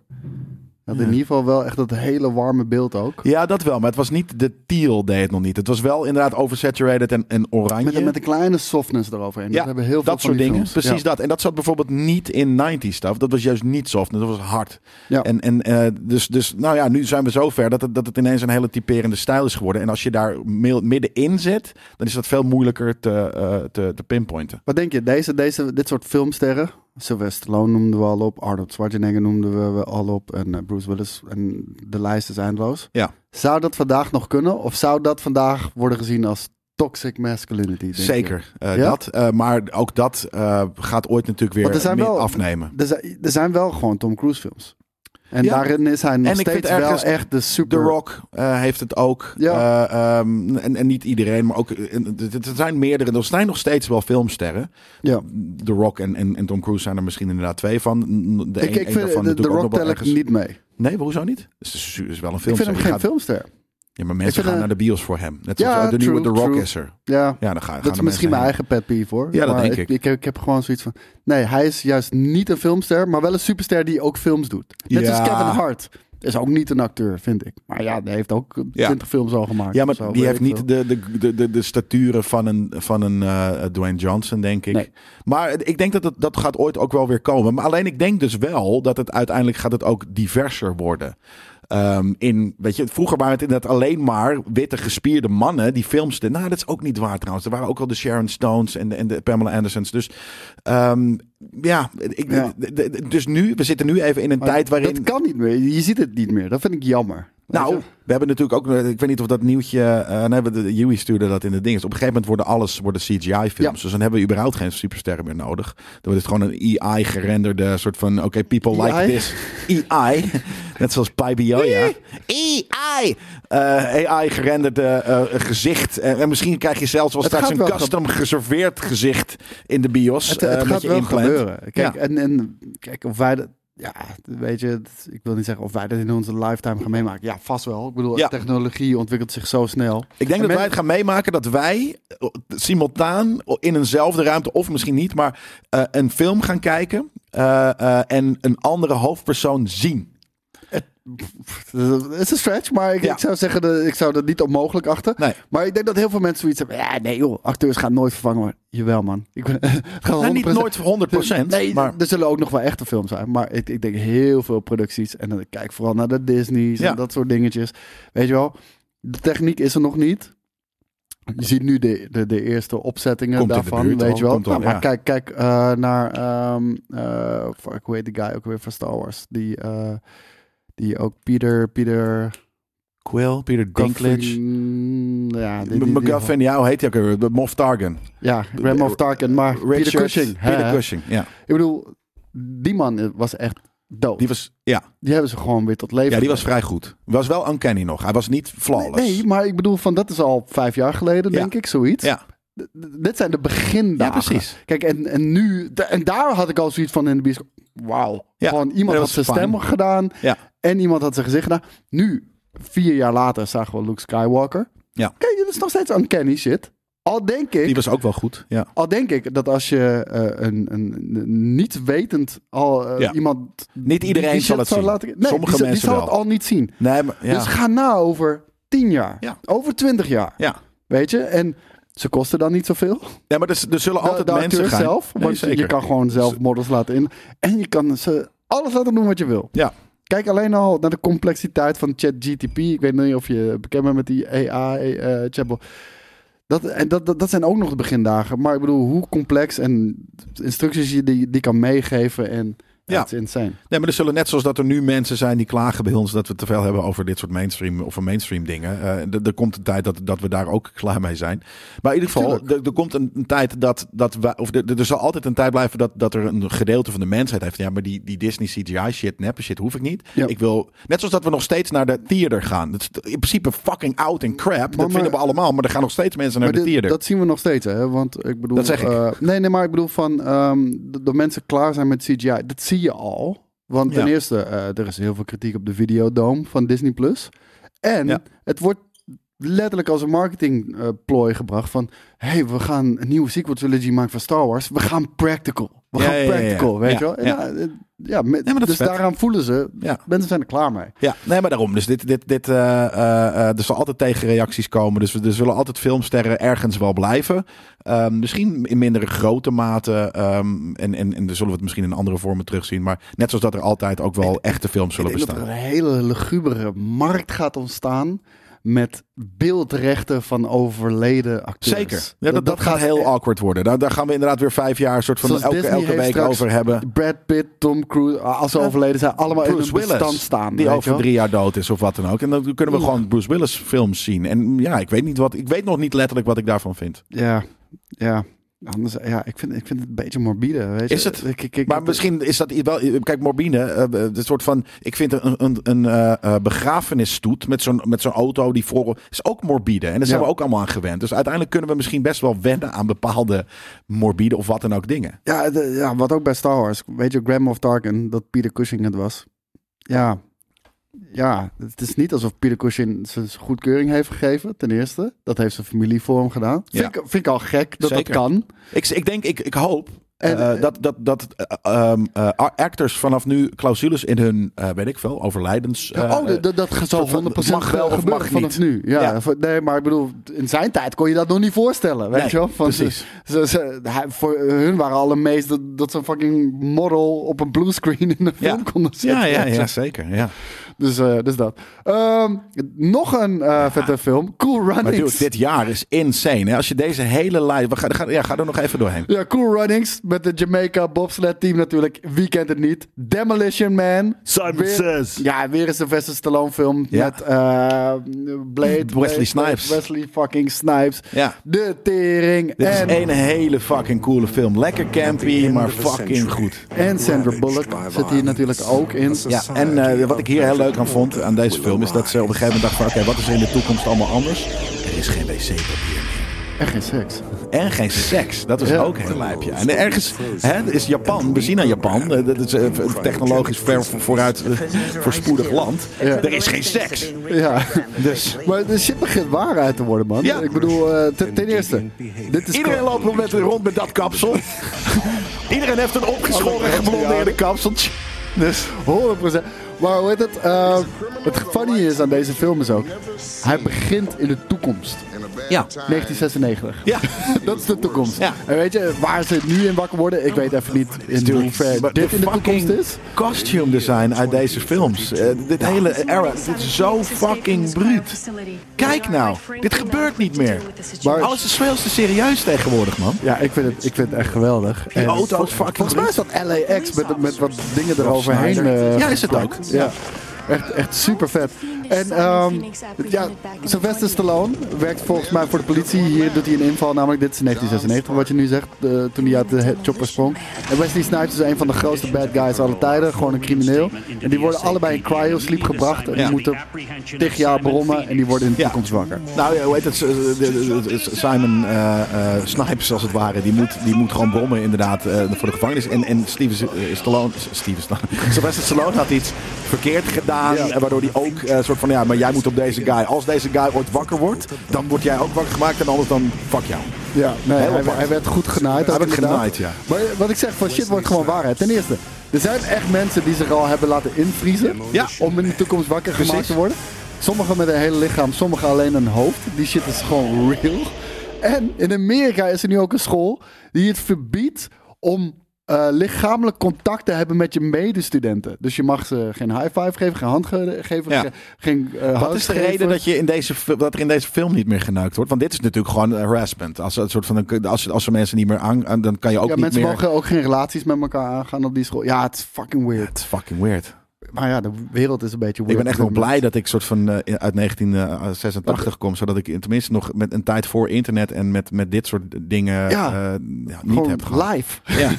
C: Had in ieder geval wel echt dat hele warme beeld ook.
B: ja, dat wel. Maar het was niet de teal deed het nog niet. Het was wel inderdaad oversaturated en, en oranje.
C: Met, met een kleine softness eroverheen.
B: ja,
C: dat hebben heel veel
B: dat
C: van
B: soort
C: die
B: dingen.
C: films.
B: Precies
C: Ja.
B: dat. En dat zat bijvoorbeeld niet in 90 stuff. Dat was juist niet soft. Dat was hard.
C: Ja.
B: En, en eh, dus, dus, nou ja, nu zijn we zover dat het, dat het ineens een hele typerende stijl is geworden. En als je daar mil- middenin zit, dan is dat veel moeilijker te, eh, te, te pinpointen.
C: Wat denk je, deze, deze, dit soort filmsterren... Sylvester Stallone noemden we al op, Arnold Schwarzenegger noemden we al op... en eh, Bruce Willis, en de lijst is eindeloos.
B: Ja.
C: Zou dat vandaag nog kunnen? Of zou dat vandaag worden gezien als toxic masculinity? denk je?
B: Zeker, eh,
C: Ja?
B: dat. Eh, maar ook dat eh, gaat ooit natuurlijk weer
C: Want er zijn
B: meer
C: wel-
B: afnemen.
C: Er zijn, er zijn wel gewoon Tom Cruise films. En
B: Ja.
C: daarin is hij
B: En
C: nog
B: ik
C: steeds
B: vind ergens
C: wel echt de
B: The
C: super...
B: Rock eh, heeft het ook.
C: Ja.
B: Eh, ehm, en, en niet iedereen, maar ook. eh, en het- Er zijn meerdere. Er zijn nog steeds wel filmsterren.
C: Ja.
B: The Rock en, en, en Tom Cruise zijn er misschien inderdaad twee van. De
C: Ik,
B: een-
C: ik
B: een
C: vind
B: daarvan
C: de, de
B: natuurlijk ook
C: Rock
B: nog wel
C: tel ik
B: ergens-
C: niet mee.
B: Nee, maar hoezo niet? Het is, het is wel een film.
C: Ik vind hem geen
B: gaat,
C: filmster.
B: Ja, maar
C: ik
B: mensen
C: vind
B: gaan
C: hem-
B: naar de bios voor hem. Net zoals
C: Ja,
B: eh, de nieuwe
C: true,
B: The Rock
C: true.
B: is er.
C: Ja,
B: Ja, dan ga, gaan
C: dat is
B: de
C: misschien
B: mensen heen.
C: mijn eigen pet peeve hoor.
B: Ja, dat
C: Maar
B: denk ik.
C: Ik, ik heb gewoon zoiets van... Nee, hij is juist niet een filmster, maar wel een superster die ook films doet. Net
B: Ja.
C: als Kevin Hart. Is ook niet een acteur, vind ik. Maar ja, hij heeft ook
B: Ja.
C: 20 films al gemaakt.
B: Ja, maar
C: of zo,
B: die
C: weet
B: heeft
C: ik
B: niet
C: veel.
B: de, de, de, de, de staturen van een, van een eh, Dwayne Johnson, denk ik.
C: Nee.
B: Maar ik denk dat het, dat gaat ooit ook wel weer komen. Maar alleen ik denk dus wel dat het uiteindelijk gaat het ook diverser worden. Ehm, in, weet je, vroeger waren het inderdaad alleen maar witte gespierde mannen die filmsten. Nou, dat is ook niet waar trouwens. Er waren ook al de Sharon Stones en de, en de Pamela Andersons. Dus ehm, ja, ik,
C: Ja.
B: d- d- d- dus nu, we zitten nu even in een tijd waarin...
C: Dat kan niet meer. Je ziet het niet meer. Dat vind ik jammer.
B: Nou,
C: Weet je?
B: we hebben natuurlijk ook, eh, ik weet niet of dat nieuwtje, eh nee, we- de Yui stuurde dat in de ding. Dus op een gegeven moment worden alles worden CGI-films.
C: Ja.
B: Dus dan hebben we überhaupt geen supersterren meer nodig. Dan wordt het gewoon een EI-gerenderde soort van, oké, people like
C: EI?
B: this. EI.
C: <laughs>
B: Net zoals Pai Oh, Bioya.
C: E
B: EI. E Eh, AI-gerenderde eh, gezicht. En, en misschien krijg je zelfs wel
C: Het
B: straks
C: gaat
B: een
C: wel
B: custom geserveerd gezicht in de bios.
C: Het,
B: eh,
C: het
B: met
C: gaat
B: je
C: wel
B: implant.
C: gebeuren. Kijk,
B: Ja.
C: en, en kijk of wij dat... Ja, weet je, het- ik wil niet zeggen of wij dat in onze lifetime gaan meemaken. Ja, vast wel. Ik bedoel,
B: Ja.
C: technologie ontwikkelt zich zo snel.
B: Ik denk
C: En
B: dat
C: men-
B: wij het gaan meemaken dat wij eh, simultaan in eenzelfde ruimte, of misschien niet, maar eh, een film gaan kijken eh, eh, en een andere hoofdpersoon zien. Nou,
C: Het is een stretch, maar ik,
B: Ja.
C: ik zou zeggen, dat- ik zou dat niet onmogelijk achten.
B: Nee.
C: Maar ik denk dat heel veel mensen zoiets hebben. Ja, nee joh, acteurs gaan nooit vervangen worden. Jawel man. Ik ben, <laughs> het gaat
B: Nou, niet
C: 100%
B: nooit 100
C: Nee,
B: maar
C: er zullen ook nog wel echte films zijn. Maar ik, ik denk heel veel producties. En dan kijk vooral naar de Disney's
B: Ja.
C: en dat soort dingetjes. Weet je wel, de techniek is er nog niet. Je ziet nu de, de, de eerste opzettingen
B: Komt in de
C: daarvan,
B: buurt
C: weet
B: al,
C: je wel.
B: komt al,
C: Nou, maar
B: ja.
C: kijk, kijk eh, naar, ehm eh, fuck, hoe heet die guy ook weer van Star Wars? Die, eh, die ook Peter, Peter...
B: Quill, Peter Dinklage,
C: Guffin- Ja, die, die, die-
B: McGuffin, ja, hoe heet hij ook weer? Moff Tarkin,
C: Ja, Ram of Tarkin, maar Ah, Peter
B: Richards,
C: Cushing. hè,
B: Peter
C: hè.
B: Cushing, ja.
C: Ik bedoel, die man was echt dood.
B: Die was, ja,
C: Die hebben ze gewoon weer tot leven.
B: ja, die was vrij goed. Was wel uncanny nog. Hij was niet
C: gebracht.
B: flawless.
C: nee, nee, maar ik bedoel, van dat is al vijf jaar geleden,
B: Ja.
C: denk ik, zoiets.
B: Ja.
C: D- d- Dit zijn de begindagen.
B: Ja, precies.
C: Kijk, en, en nu, da- en daar had ik al zoiets van in de bioscoop. Wauw.
B: Ja,
C: Gewoon
B: dat
C: iemand had
B: was
C: zijn
B: fijn.
C: stem gedaan
B: Ja.
C: en iemand had zijn gezicht gedaan. Nu, vier jaar later, zagen we Luke Skywalker.
B: Ja.
C: Kijk, dat is nog steeds uncanny shit. Al denk ik,
B: Die was ook wel goed, ja.
C: al denk ik dat als je eh, een, een, een niet wetend al eh,
B: Ja.
C: iemand.
B: Niet iedereen
C: die
B: zal
C: shit
B: het
C: zou
B: zien.
C: laten- nee,
B: Sommige
C: die, zal-
B: mensen
C: die zal
B: wel.
C: het al niet zien.
B: Nee, maar, ja.
C: Dus ga na over 10 jaar.
B: Ja.
C: Over 20 jaar.
B: ja.
C: Weet je? En ze kosten dan niet zoveel.
B: Nee, maar er, er zullen <laughs>
C: De,
B: altijd
C: de
B: mensen
C: acteur
B: gaan.
C: zelf.
B: Nee,
C: want je- je
B: zeker.
C: kan gewoon zelf models laten in. En je kan ze alles laten doen wat je wil.
B: Ja.
C: Kijk alleen al naar de complexiteit van ChatGTP. Ik weet niet of je bekend bent met die AI, eh chatbot. Dat, en dat, dat, dat zijn ook nog de begindagen. Maar ik bedoel, hoe complex en instructies je die, die kan meegeven. En ja.
B: Ja.
C: het is insane.
B: Nee, maar er zullen net zoals dat er nu mensen zijn die klagen bij ons dat we te veel hebben over dit soort mainstream of een mainstream dingen. Eh, d- er komt een tijd dat, dat we daar ook <laughs> klaar mee zijn. Maar in ieder geval,
C: Tuurlijk.
B: er, er komt een, een tijd dat, dat wij, of er, er zal altijd een tijd blijven dat, dat er een gedeelte van de mensheid heeft. Ja, maar die, die Disney CGI shit, neppe shit, hoef ik niet.
C: Ja.
B: Ik wil, net zoals dat we nog steeds naar de theater gaan. Dat is in principe fucking oud en crap. dat
C: maar-
B: vinden we allemaal, maar er gaan nog steeds mensen naar de
C: dit-
B: theater.
C: Dat zien we nog steeds, hè? Want ik bedoel.
B: Dat zeg ik.
C: eh, nee, nee, maar ik bedoel van. ehm, dat dat mensen klaar zijn met CGI. Dat zie je al. Want ten
B: Ja.
C: eerste, eh, er is heel veel kritiek op de Videodome van Disney Plus. En
B: Ja.
C: het wordt letterlijk als een marketingplooi plooi gebracht van. hey, we gaan een nieuwe sequel trilogy maken van Star Wars. We gaan practical. We
B: Ja,
C: gaan
B: ja, ja, ja.
C: practical, weet
B: Ja,
C: je wel? En,
B: ja.
C: nou, eh, ja, met-
B: maar dat is
C: dus
B: vet.
C: daaraan voelen ze.
B: Ja.
C: Mensen zijn er klaar mee.
B: Ja, nee, maar daarom. Dus dit, dit, dit, eh, eh, eh, er zal altijd tegenreacties komen. Dus we- er zullen altijd filmsterren ergens wel blijven. Ehm, misschien in mindere grote mate. ehm, en, en, en dan zullen we het misschien in andere vormen terugzien. Maar net zoals dat er altijd ook wel echte films zullen
C: Ik denk dat er
B: bestaan.
C: een hele lugubere markt gaat ontstaan met beeldrechten van overleden acteurs.
B: Zeker. Ja, dat, dat, gaat heel awkward worden. Nou, Daar, daar gaan we inderdaad weer vijf jaar soort van
C: Zoals
B: elke,
C: Disney
B: elke
C: heeft
B: week
C: straks
B: over hebben.
C: Brad Pitt, Tom Cruise, als ze
B: Ja.
C: overleden zijn, allemaal in
B: Bruce
C: een bestand
B: Willis,
C: staan.
B: die
C: weet je
B: over
C: wel.
B: drie jaar dood is of wat dan ook. En dan kunnen we
C: Oeh.
B: gewoon Bruce Willis films zien. En ja, ik weet, niet wat, ik weet nog niet letterlijk wat ik daarvan vind.
C: Ja, ja. Anders, ja, ik vind, ik vind het een beetje morbide. Weet je?
B: Is het?
C: Ik, ik, ik-
B: Maar misschien is dat wel. Kijk, Morbine, eh, een soort van. Ik vind een, een, een eh, eh, begrafenisstoet met zo'n met zo'n auto die voor. is ook morbide. En daar zijn
C: Ja.
B: we ook allemaal aan gewend. Dus uiteindelijk kunnen we misschien best wel wennen aan bepaalde morbide of wat dan ook dingen.
C: Ja, de- ja, wat ook bij Star Wars. Weet je, Graham of Tarkin, dat Peter Cushing het was. Ja. Ja, het is niet alsof Peter Cushing zijn goedkeuring heeft gegeven, ten eerste. Dat heeft zijn familie voor hem gedaan.
B: Ja.
C: Vind, ik, vind ik al gek dat
B: Zeker.
C: dat kan.
B: Ik, ik denk, ik, ik hoop.
C: En,
B: eh,
C: eh,
B: dat dat, dat eh, ehm, eh, actors vanaf nu clausules in hun, eh, weet ik veel, overlijdens. eh,
C: oh, dat, dat gaat zo
B: soort van,
C: 100%
B: mag wel of
C: gebeuren
B: mag
C: vanaf
B: niet.
C: nu. Ja,
B: Ja.
C: voor- Nee, maar ik bedoel, in zijn tijd kon je dat nog niet voorstellen. Weet
B: Nee,
C: je wel? Van,
B: precies.
C: Ze, ze- hij- voor hun waren alle meest dat, dat zo'n fucking model op een bluescreen in een
B: Ja.
C: film konden zetten.
B: ja, ja,
C: Weet je
B: ja, zeker. Ja.
C: Dus, eh, dus dat. Ehm, nog een eh, vette film. Cool
B: Maar dude,
C: Runnings.
B: dit jaar is insane. Hè? Als je deze hele lijst. We gaan, we gaan- ja, ga er nog even doorheen.
C: Ja, Cool Runnings. met de Jamaica bobsled team natuurlijk. Wie kent het niet? Demolition Man.
B: Simon
C: Weer-
B: Says.
C: Ja, weer eens een Sylvester Stallone film
B: Ja.
C: met eh, Blade.
B: <laughs>
C: Blade,
B: Wesley Snipes.
C: Wesley fucking Snipes.
B: Ja.
C: De tering.
B: Dit is
C: En,
B: een hele fucking coole film. Lekker campy, maar
D: of the
B: fucking
D: century.
B: goed.
C: en Sandra Bullock zit hier natuurlijk ook in.
B: Ja, en eh, wat ik hier heel leuk aan vond aan deze film is dat ze op een gegeven moment dachten: van, oké, wat is er in de toekomst allemaal anders? Er is geen wc-papier meer.
C: En geen seks.
B: En geen seks. Dat is
C: Ja.
B: ook heel lijpje. En ergens hè, is Japan, we zien aan Japan, eh, dat is eh, een technologisch ver vooruit eh, voorspoedig land. Er is geen seks.
C: Ja.
B: Dus
C: Maar de shit begint waarheid te worden, man.
B: Ja.
C: Ik bedoel, eh, ten, ten eerste, dit is
B: iedereen loopt nog met, rond met dat kapsel. Iedereen heeft een opgeschoren, geblondeerde kapseltje.
C: Dus 100%. Maar hoe heet het? Eh, het funny is aan deze film is ook. Hij begint in de toekomst.
B: Ja.
C: 1996.
B: Ja.
C: <laughs> Dat is de toekomst.
B: Ja.
C: En weet je, waar ze nu in wakker worden, ik weet even niet in hoeverre
B: Maar
C: dit in de toekomst
B: fucking
C: is.
B: costume design uit deze films. Eh, dit hele era, dit is zo fucking bruut. Kijk nou, dit gebeurt niet meer.
C: Maar-
B: Alles is veel te serieus tegenwoordig, man.
C: Ja, ik vind het, ik vind het echt geweldig. En
B: auto's
C: vol-
B: fucking
C: Volgens mij is dat LAX met, met wat dingen eroverheen. eh,
B: Ja, is het ook.
C: Ja, echt, echt super vet. En ehm ja, Sylvester Stallone werkt volgens mij voor de politie. Hier doet hij een inval, namelijk dit is 1996, wat je nu zegt, eh, toen hij uit de he- chopper sprong. En Wesley Snipes is een van de grootste bad guys aller tijden, gewoon een crimineel. En die worden allebei in cryo-sleep gebracht en die
B: Ja.
C: moeten tig jaar brommen en die worden in de
B: Ja.
C: toekomst wakker.
B: Nou, ja, hoe heet het? Eh, eh, eh, eh, Simon eh, eh, Snipes, als het ware. Die moet, die moet gewoon bommen, inderdaad, eh, voor de gevangenis. En, en Steven eh, Stallone... Steven Stallone... <laughs> Sylvester Stallone had iets verkeerd gedaan.
C: Ja.
B: eh, Waardoor hij ook eh, soort van... Ja, maar jij moet op deze guy... Als deze guy ooit wakker wordt, dan word jij ook wakker gemaakt. En anders dan fuck jou.
C: Ja, nee,
B: Heel
C: hij,
B: apart.
C: hij werd goed genaaid.
B: Hij
C: ook
B: werd
C: inderdaad.
B: genaaid, ja.
C: Maar wat ik zeg, van shit wordt gewoon waarheid. Ten eerste, er zijn echt mensen die zich al hebben laten invriezen.
B: Ja.
C: Om in de toekomst wakker
B: Precies.
C: gemaakt te worden. Sommigen met een hele lichaam, sommigen alleen een hoofd. Die shit is gewoon real. En in Amerika is er nu ook een school die het verbiedt om eh, lichamelijk contact te hebben met je medestudenten. Dus je mag ze geen high five geven, geen hand ge- geven,
B: Ja.
C: ge- geen eh
B: Wat is de reden dat, je in deze, fi- dat er in deze film niet meer geneukt wordt? Want dit is natuurlijk gewoon harassment. Als, een soort van, als, als er mensen niet meer aan... aan- Dan kan je ook
C: Ja,
B: niet
C: mensen
B: meer...
C: mogen ook geen relaties met elkaar aangaan op die school. Ja, het is fucking weird.
B: Het is fucking weird.
C: Maar ja, de wereld is een beetje
B: Ik
C: weird.
B: ben echt nog blij dat ik soort van eh, uit 1986 kom, zodat ik tenminste nog met een tijd voor internet en met, met dit soort dingen
C: Ja.
B: eh, ja, niet
C: Gewoon
B: heb gehad.
C: live. <laughs>
B: Ja.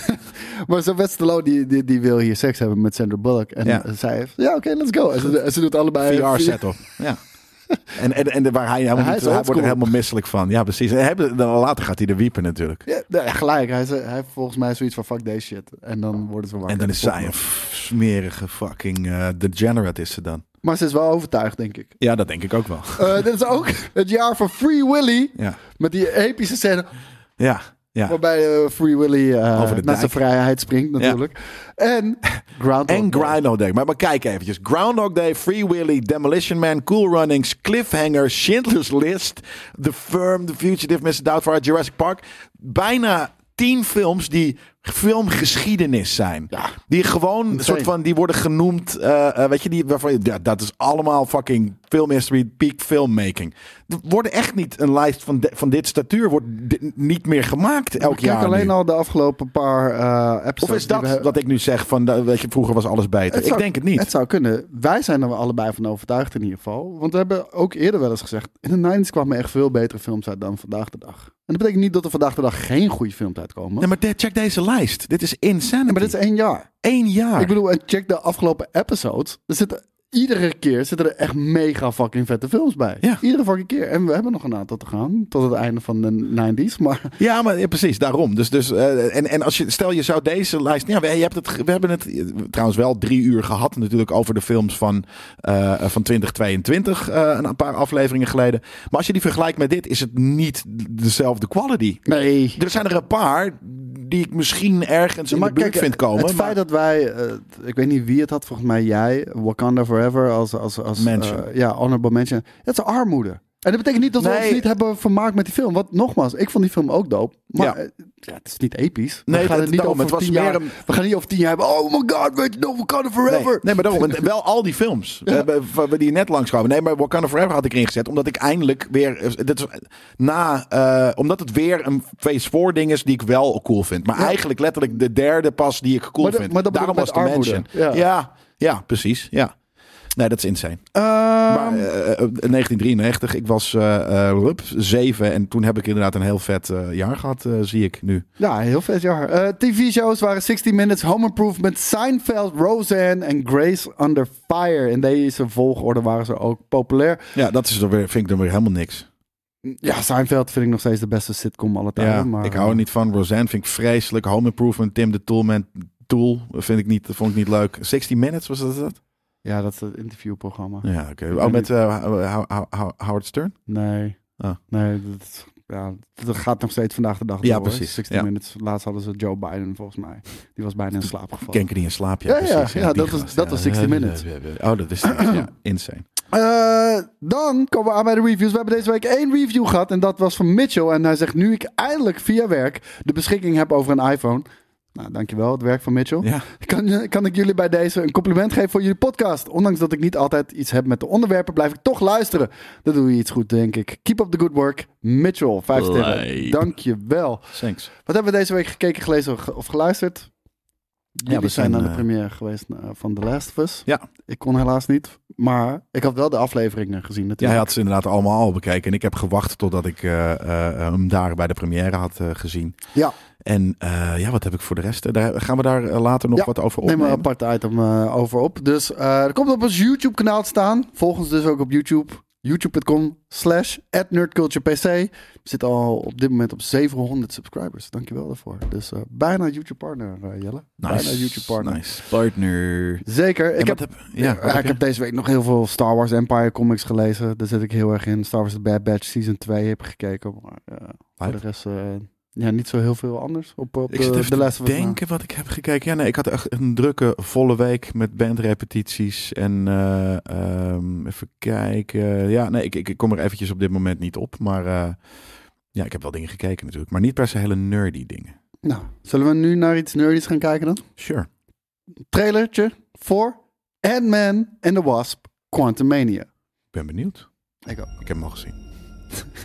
C: Maar Sylvester Stallone die, die, die wil hier seks hebben met Sandra Bullock. En
B: Ja.
C: zij heeft, ja oké, let's go. En ze, en ze doet
B: <laughs>
C: allebei...
B: VR setup.
C: <laughs>
B: Ja. En, en, en waar hij, helemaal
C: Eh, Hij
B: niet,
C: is
B: hij wordt
C: oldschool.
B: er helemaal misselijk van. Ja, precies. En hij- dan later gaat hij er wiepen natuurlijk.
C: Ja, nee, gelijk. Hij, ze- hij heeft volgens mij zoiets van fuck deze shit. En dan worden ze wakker.
B: Oh. En dan is zij een f- smerige fucking eh, degenerate is ze dan.
C: Maar ze is wel overtuigd, denk ik.
B: Ja, dat denk ik
C: <laughs>
B: ook wel.
C: Eh, dit is ook het jaar van Free Willy.
B: Ja,
C: Met die epische scène
B: ja, ja.
C: waarbij eh, Free Willy eh,
B: Over de
C: naar zijn
B: dijk.
C: vrijheid springt natuurlijk. En
B: <laughs>
C: Groundhog
B: En
C: Day.
B: Groundhog Day. Maar, maar kijk eventjes. Groundhog Day, Free Willy, Demolition Man, Cool Runnings, Cliffhanger, Schindler's List, The Firm, The Fugitive, Mr. Doubtfire, Jurassic Park. Bijna tien films die filmgeschiedenis zijn.
C: Ja.
B: Die gewoon een
C: Insane.
B: soort van, die worden genoemd, eh, eh, weet je, die, waarvan je, ja, dat is allemaal fucking film history, peak filmmaking. Er wordt echt niet een lijst van, de- van dit statuur, wordt di- niet meer gemaakt elk
C: Kijk
B: jaar
C: alleen
B: nu.
C: al de afgelopen paar eh episodes.
B: Of is
C: die
B: dat
C: we hebben-
B: wat ik nu zeg van, eh, weet je, vroeger was alles beter.
C: zou-
B: ik denk het niet.
C: Het zou kunnen. Wij zijn er allebei van overtuigd in ieder geval. Want we hebben ook eerder wel eens gezegd... in de 90s kwamen echt veel betere films uit dan vandaag de dag. En dat betekent niet dat er vandaag de dag geen goede films uitkomen.
B: Nee, maar de- check deze lijst. Dit is e- insanity.
C: maar dit is één jaar.
B: één jaar.
C: Ik bedoel, en check de afgelopen episodes. Er zitten, iedere keer zitten er echt mega fucking vette films bij.
B: Ja.
C: Iedere fucking keer. En we hebben nog een aantal te gaan. Tot het einde van de 90s. Maar
B: ja, maar ja, precies, daarom. Dus, dus, eh, en en als je, stel je zou deze lijst... Ja, we, je hebt het, ge- we hebben het eh, trouwens wel drie uur gehad natuurlijk over de films van, eh, van 2022. eh, een paar afleveringen geleden. Maar als je die vergelijkt met dit, is het niet dezelfde quality.
C: nee.
B: Er zijn er een paar die ik misschien ergens in de buurt
C: kijk,
B: vind komen.
C: Het
B: maar-
C: feit dat wij, eh, ik weet niet wie het had, volgens mij jij, Wakanda Forever als, als, als
B: Mention.
C: eh, ja, honorable mention. Dat is armoede. En dat betekent niet dat we
B: Nee.
C: ons niet hebben vermaakt met die film. Want nogmaals, ik vond die film ook dope. Maar
B: Ja.
C: eh, ja, het is niet episch. We
B: Nee,
C: gaan
B: het-
C: het niet
B: daarom,
C: over
B: het was
C: tien
B: meer
C: jaar,
B: een-
C: We gaan niet over tien jaar hebben. Oh my god, weet je nog, Wakanda Forever.
B: Nee, nee, maar daarom. en Wel al die films eh, waar we die net langskomen. Nee, maar Wakanda Forever had ik erin gezet. Omdat ik eindelijk weer... eh, Dit is, na, eh, omdat het weer een Phase 4 ding is die ik wel cool vind. Maar eigenlijk letterlijk de derde pas die ik cool
C: Maar dat-
B: vind.
C: maar dat bedoel
B: daarom
C: ik
B: was de
C: met
B: mention.
C: armoede.
B: Ja.
C: Ja.
B: Ja, precies. Ja. Nee, dat is insane.
C: Ehm,
B: maar, eh, eh, 1993, ik was eh eh, hup, zeven en toen heb ik inderdaad een heel vet eh, jaar gehad, eh, zie ik nu.
C: ja, heel vet jaar. Eh, TV-shows waren 60 Minutes, Home Improvement, Seinfeld, Roseanne en Grace Under Fire. In deze volgorde waren ze ook populair.
B: Ja, dat is dan weer, vind ik dan weer helemaal niks.
C: Ja, Seinfeld vind ik nog steeds de beste sitcom alle tijden.
B: Ja,
C: maar,
B: ik hou er niet van. Roseanne vind ik vreselijk. Home Improvement, Tim de Toolman, Tool vind ik niet, vond ik niet leuk. 60 Minutes was dat dat?
C: Ja, dat is het interviewprogramma.
B: Ja, oké. Oh, met eh, Hou- Hou- Hou- Howard Stern?
C: Nee.
B: Ah.
C: Nee, dat, is- ja, dat gaat nog steeds vandaag de dag
B: Ja,
C: door, hoor.
B: precies.
C: 60
B: Ja.
C: minutes. Laatst hadden ze Joe Biden, volgens mij. Die was bijna in slaap gevallen.
B: Kenker die in slaap, Oh. ja.
C: Ja,
B: precies.
C: ja, ja,
B: die
C: dat was-
B: gast,
C: dat
B: ja.
C: was 60 Minutes.
B: Oh, dat is <clears throat> ja, insane.
C: Eh, dan komen we aan bij de reviews. We hebben deze week één review gehad en dat was van Mitchell. En hij zegt, nu ik eindelijk via werk de beschikking heb over een iPhone... Nou, dankjewel, het werk van Mitchell.
B: Ja.
C: Kan, kan ik jullie bij deze een compliment geven voor jullie podcast? Ondanks dat ik niet altijd iets heb met de onderwerpen, blijf ik toch luisteren. Dat doe je iets goed, denk ik. Keep up the good work. Mitchell, vijf sterren.
B: Lijp.
C: Dankjewel.
B: Thanks.
C: Wat hebben we deze week gekeken, gelezen of ge- of geluisterd? Jullie
B: we
C: zijn
B: zijn,
C: aan de
B: eh,
C: première geweest eh, van The Last of Us.
B: Ja.
C: Ik kon helaas niet, maar ik had wel de afleveringen gezien
B: Ja, hij
C: natuurlijk.
B: had ze inderdaad allemaal al bekeken. En ik heb gewacht totdat ik eh, eh, hem daar bij de première had eh, gezien.
C: Ja.
B: En eh, ja, wat heb ik voor de rest? Eh, Daar, gaan we daar eh, later nog
C: Ja,
B: wat over
C: Neem
B: opnemen?
C: er een apart item eh, over op. Dus eh, er komt op ons YouTube kanaal te staan. Volg ons dus ook op YouTube. YouTube.com slash nerdculturepc. We zitten al op dit moment op 700 subscribers. Dankjewel daarvoor. Dus eh, bijna YouTube partner, eh, Jelle. Bijna
B: nice.
C: YouTube partner.
B: Nice. Partner.
C: Zeker. Ik
B: En
C: heb
B: wat ja,
C: Ja,
B: wat heb
C: Eh, ik
B: je?
C: heb deze week nog heel veel Star Wars Empire comics gelezen. Daar zit ik heel erg in. Star Wars The Bad Batch Season 2 heb ik gekeken. Maar eh, voor de
B: Hype.
C: rest eh, ja, niet zo heel veel anders op, op eh,
B: Ik
C: de,
B: zit even
C: de les.
B: te denken wat ik heb gekeken. Ja, nee, ik had echt een drukke, volle week met bandrepetities. En eh, ehm, even kijken. Ja, nee, ik, ik, ik kom er eventjes op dit moment niet op. Maar eh, ja, ik heb wel dingen gekeken natuurlijk. Maar niet per se hele nerdy dingen.
C: Nou, zullen we nu naar iets nerdies gaan kijken dan?
B: Sure.
C: Trailertje voor Ant-Man and the Wasp Quantumania.
B: Ik ben benieuwd.
C: Ik ook.
B: Ik heb hem al gezien.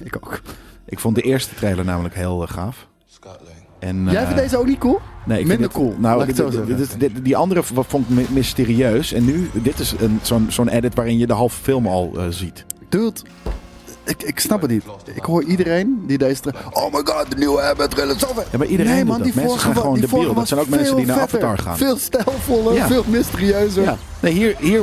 C: Ik ook.
B: Ik vond de eerste trailer namelijk heel eh, gaaf. En,
C: Jij
B: eh,
C: vindt deze ook niet cool?
B: nee, ik
C: minder
B: vind dit-
C: cool,
B: Nou,
C: laat ik het zo
B: dit-
C: zeggen.
B: dit- dit- dit- die andere v- vond ik my- mysterieus. En nu, dit is een- zo'n zo'n edit waarin je de halve film al eh, ziet.
C: Dude, ik, ik snap het niet. Ik hoor iedereen die deze... tra- Oh my god, de nieuwe Ant-Man trailer. Zoveel.
B: Ja, maar iedereen
C: nee,
B: doet
C: man,
B: dat.
C: die
B: Mensen
C: vorige
B: zijn
C: wa-
B: gewoon
C: die
B: debiel.
C: vorige
B: Dat
C: was
B: zijn ook mensen die
C: veel
B: naar
C: vetter,
B: Avatar gaan.
C: Veel stijlvoller,
B: Ja.
C: veel mysterieuzer.
B: Ja. Nee, hier, hier,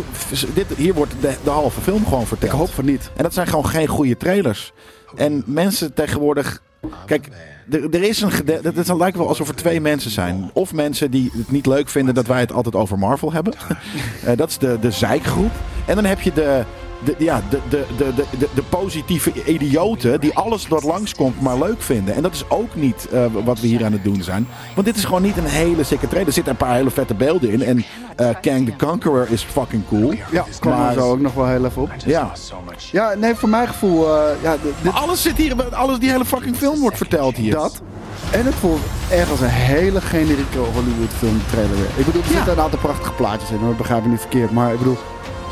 B: dit, hier wordt de, de halve film gewoon verteld.
C: Ik hoop van niet.
B: En dat zijn gewoon geen goede trailers. En mensen tegenwoordig. Kijk, er, er is een gede- dat- Het lijkt wel alsof er twee mensen zijn. Of mensen die het niet leuk vinden dat wij het altijd over Marvel hebben. <laughs> Eh, dat is de, de zeikgroep. En dan heb je de. De, ja, de, de, de, de, de- de positieve idioten die alles wat langskomt maar leuk vinden. En dat is ook niet eh, wat we hier aan het doen zijn. Want dit is gewoon niet een hele sikke trailer. Er zitten een paar hele vette beelden in. En eh, Kang the Conqueror is fucking cool.
C: Ja, kwam er zo ook nog wel heel even op.
B: Ja.
C: Ja, nee, voor mijn gevoel... eh, ja, dit, dit-
B: Alles zit hier, alles die hele fucking film wordt verteld hier.
C: dat. En het voelt echt als een hele generieke Hollywood film trailer weer. Ik bedoel, er zitten een aantal prachtige plaatjes in. hoor, Dat begrijp ik niet verkeerd. Maar ik bedoel,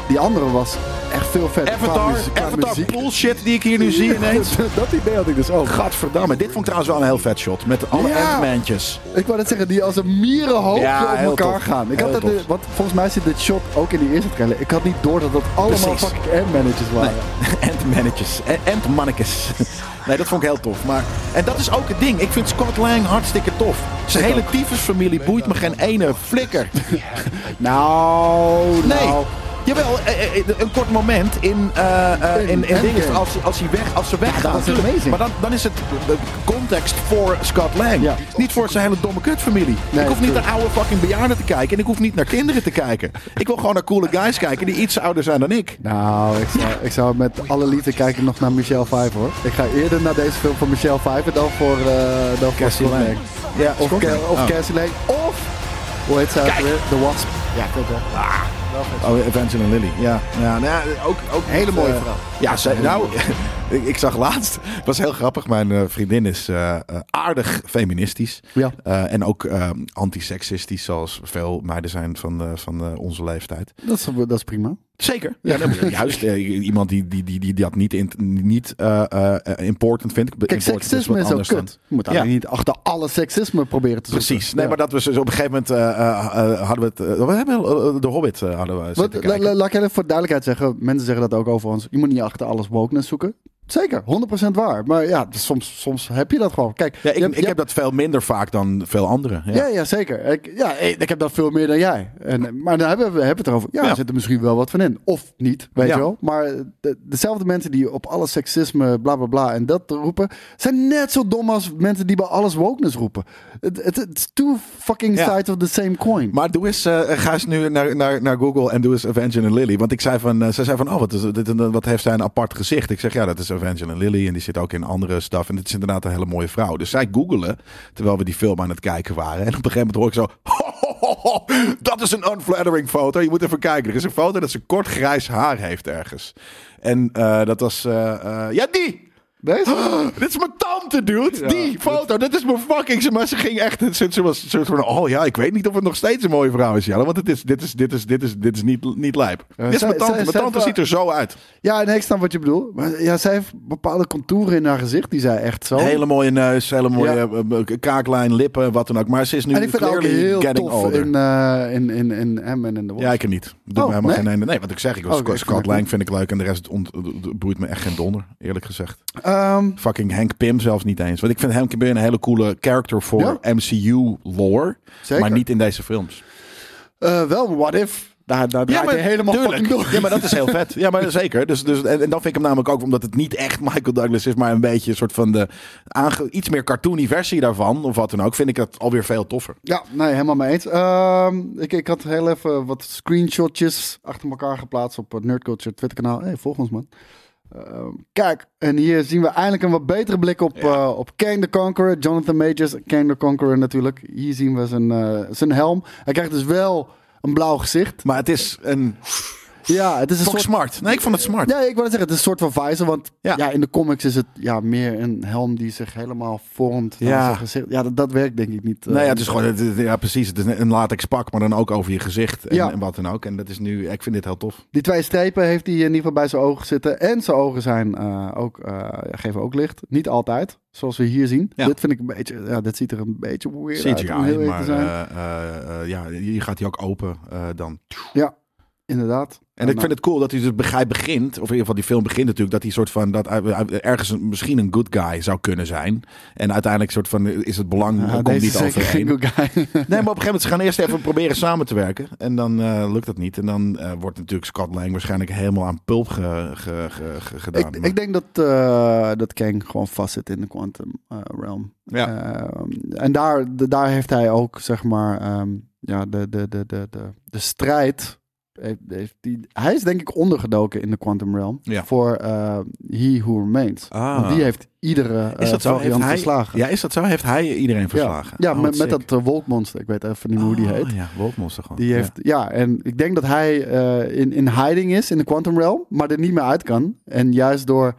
C: die andere was echt veel vetter. qua
B: Avatar,
C: muziek- qua
B: Avatar
C: muziek.
B: bullshit die ik hier nu zie ineens.
C: <laughs> dat idee had ik dus ook.
B: Gadverdamme, dit vond ik trouwens wel een heel vet shot. Met alle
C: Ja.
B: Ant-Mantjes.
C: Ik wou net zeggen, die als een mierenhoopje
B: Ja,
C: op
B: heel
C: elkaar
B: tof.
C: gaan. Ik had
B: Heel
C: dat,
B: tof.
C: want volgens mij zit dit shot ook in die eerste trailer. Ik had niet door dat dat allemaal
B: Precies.
C: fucking Ant-Managers waren.
B: <laughs> Ant-Mannetjes. A- Ant-Mannekes. <laughs> Nee, dat vond ik heel tof. Maar, en dat is ook het ding. Ik vind Scott Lang hartstikke tof. Zijn hele tyfusfamilie boeit me geen ene flikker. <laughs>
C: Nou,
B: Nee.
C: nou.
B: Jawel, eh, eh, een kort moment in, eh, eh, in,
C: In
B: in
C: Endgame.
B: dingen als, als, hij weg, als ze weggaan.
C: dat is
B: natuurlijk.
C: amazing.
B: Maar dan, dan is het de context voor Scott Lang.
C: Ja.
B: Niet voor zijn hele domme kutfamilie.
C: Nee,
B: ik hoef niet
C: true.
B: naar oude fucking bejaarden te kijken. En ik hoef niet naar kinderen te kijken. Ik wil gewoon naar coole guys kijken die iets ouder zijn dan ik.
C: Nou, ik zou, ik zou met alle liefde kijken nog naar Michelle Pfeiffer hoor. Ik ga eerder naar deze film van Michelle Pfeiffer dan voor, eh dan voor Scott Lang.
B: Ja,
C: Of,
B: Scott
C: Ca-
B: Lang.
C: of
B: Oh.
C: Cassie Lang. Of, hoe heet ze ook weer? The Wasp. Ja, klopt hè.
B: Oh, Evangeline Lilly. Ja, ja nou, ja, ook, ook
C: Hele mooie
B: eh,
C: vrouw.
B: Ja, zij, nou, <laughs> Ik, ik zag laatst, het was heel grappig, mijn eh, vriendin is eh, eh, aardig feministisch.
C: Ja.
B: Eh, en ook eh, antiseksistisch, zoals veel meiden zijn van, eh, van eh, onze leeftijd.
C: Dat is, dat is prima.
B: Zeker. Ja, nee, maar juist eh, iemand die, die, die, die dat niet, in, niet eh, eh, important vindt.
C: Kijk,
B: Important is
C: seksisme
B: dus wat
C: is ook
B: anders dan-
C: kut. Je moet
B: Ja.
C: eigenlijk niet achter alle seksisme proberen te zoeken.
B: Precies. Nee,
C: Ja.
B: maar dat we zo op een gegeven moment eh, eh, eh, hadden we het. eh, we hebben eh, de Hobbit eh, hadden we. zitten
C: Wat, la-
B: kijken.
C: la- laat ik even voor duidelijkheid zeggen. Mensen zeggen dat ook over ons. Je moet niet achter alles wokeness zoeken. Zeker, 100% waar. Maar ja, soms, soms heb je dat gewoon. Kijk,
B: ja,
C: je
B: ik,
C: hebt-
B: ik
C: je
B: heb dat veel minder vaak dan veel anderen. Ja.
C: Ja, ja zeker. Ik, ja, ik heb dat veel meer dan jij. En, maar dan hebben we hebben we het erover. Ja,
B: Ja.
C: er zit er misschien wel wat van in. Of niet, weet
B: Ja.
C: je wel. Maar de- dezelfde mensen die op alles seksisme, bla bla bla en dat roepen... zijn net zo dom als mensen die bij alles wokeness roepen. Het het- it's two fucking
B: Ja.
C: sides of the same coin.
B: Maar doe eens, eh, ga eens nu naar, naar, naar Google en doe eens Evangeline Lilly. Want ik zei van, eh, ze zei van, oh, wat, is, dit, en dat- wat heeft zij een apart gezicht? Ik zeg, ja, dat is Evangeline Lilly en die zit ook in andere stuff. En het is inderdaad een hele mooie vrouw. Dus zij googelen, terwijl we die film aan het kijken waren. En op een gegeven moment hoor ik zo, <laughs> ho, ho, ho, ho, dat is een unflattering foto. Je moet even kijken. Er is een foto dat ze kort grijs haar heeft ergens. En eh, dat was, eh, eh, ja, die!
C: Deze?
B: <gasps> <laughs> Dit is mijn tante, dude. die foto. Dit is mijn fucking. ze- Maar ze ging echt. Ze, ze was een soort van. Oh ja, ik weet niet of het nog steeds een mooie vrouw is, Jelle. Want het is, dit, is, dit, is, dit, is, dit is niet, niet lijp. dit is
C: zij-
B: mijn tante.
C: zij-
B: Mijn
C: zij
B: tante
C: vra-
B: ziet er zo uit.
C: Ja, en ik snap wat je bedoelt. Maar ja, zij heeft bepaalde contouren in haar gezicht die zij echt zo...
B: Hele mooie neus, hele mooie
C: Ja.
B: eh, eh, kaaklijn, lippen, wat dan ook. Maar ze is nu
C: en ik vind haar ook
B: clearly
C: heel
B: getting
C: tof
B: older.
C: in, eh, in, in, in Em en in de Wolf.
B: Ja, ik er niet. Doet me
C: Oh,
B: helemaal
C: nee?
B: geen einde. Nee, wat ik zeg. Ik was
C: Oh, oké,
B: Scott
C: goed.
B: Lang vind ik leuk. En de rest ont, boeit me echt geen donder, eerlijk gezegd.
C: Ehm,
B: fucking Henk Pim zelfs niet eens. Want ik vind Henk Pim een hele coole character voor MCU lore.
C: Zeker.
B: Maar niet in deze films.
C: eh, wel, what if? Daar, daar draait hij helemaal fucking door.
B: Ja, maar dat is heel vet. Ja, maar zeker. Dus, dus, en, en dan vind ik hem namelijk ook, omdat het niet echt Michael Douglas is, maar een beetje een soort van de aange, iets meer cartoony versie daarvan, of wat dan ook, vind ik dat alweer veel toffer.
C: Ja, nee, helemaal mee eens. Ehm, ik, ik had heel even wat screenshotjes achter elkaar geplaatst op het Nerdculture Twitterkanaal. Hé, hey, volg ons man. Ehm, kijk, en hier zien we eindelijk een wat betere blik op, eh, op Kane the Conqueror. Jonathan Majors, Kane the Conqueror natuurlijk. Hier zien we zijn, eh, zijn helm. Hij krijgt dus wel een blauw gezicht.
B: Maar het is een.
C: Ja, het is een
B: Fuck
C: soort...
B: smart. Nee, ik vond het smart.
C: Ja, ik wil zeggen, het is een soort van visor. Want
B: Ja.
C: ja. in de comics is het ja, meer een helm die zich helemaal vormt. naar
B: Ja.
C: zijn gezicht. ja dat, dat werkt denk ik niet. eh,
B: Nee, ja, het is gewoon, het- het- ja, precies. Het is een latex pak, maar dan ook over je gezicht en,
C: Ja.
B: en wat dan ook. En dat is nu, ik vind dit heel tof.
C: Die twee strepen heeft hij in ieder geval bij zijn ogen zitten. En zijn ogen zijn, eh, ook, eh, ja, geven ook licht. Niet altijd, zoals we hier zien.
B: Ja.
C: Dit vind ik een beetje... Ja, dit ziet er een beetje weird uit, om heel
B: CGI,
C: eerlijk
B: maar
C: te zijn.
B: eh, eh, eh, ja, hier gaat hij ook open eh, dan.
C: ja, inderdaad.
B: En ik vind het cool dat hij dus begrijp begint, of in ieder geval die film begint natuurlijk, dat hij soort van dat hij- hij ergens een- misschien een good guy zou kunnen zijn. En uiteindelijk soort van is het belang
C: nou, Ja,
B: komt
C: deze
B: niet
C: is zeker
B: overeen.
C: geen
B: Nee,
C: good guy.
B: maar op een gegeven moment ze gaan eerst even proberen samen te werken en dan eh, lukt dat niet en dan eh, wordt natuurlijk Scott Lang waarschijnlijk helemaal aan pulp ge, ge- ge- ge- gedaan.
C: ik,
B: Maar-
C: ik denk dat, eh dat Kang gewoon vastzit in de quantum eh, realm.
B: Ja.
C: Ehm, en daar, d- daar heeft hij ook, zeg maar, ehm, ja, de, de, de, de, de, de strijd. Heeft, heeft die, hij is denk ik ondergedoken in de quantum realm
B: Ja.
C: voor eh, He Who Remains.
B: Ah.
C: Want die heeft iedere eh
B: is dat zo? Heeft
C: variant
B: hij,
C: verslagen.
B: ja, is dat zo? Heeft hij iedereen verslagen?
C: Ja,
B: Oh,
C: met, met
B: sick.
C: dat eh, wolkmonster. Ik weet even niet meer hoe die
B: Oh,
C: heet.
B: Ja, Wolfmonster gewoon.
C: Die
B: Ja.
C: heeft, ja. en ik denk dat hij eh, in, in hiding is in de Quantum Realm, maar er niet meer uit kan. En juist door,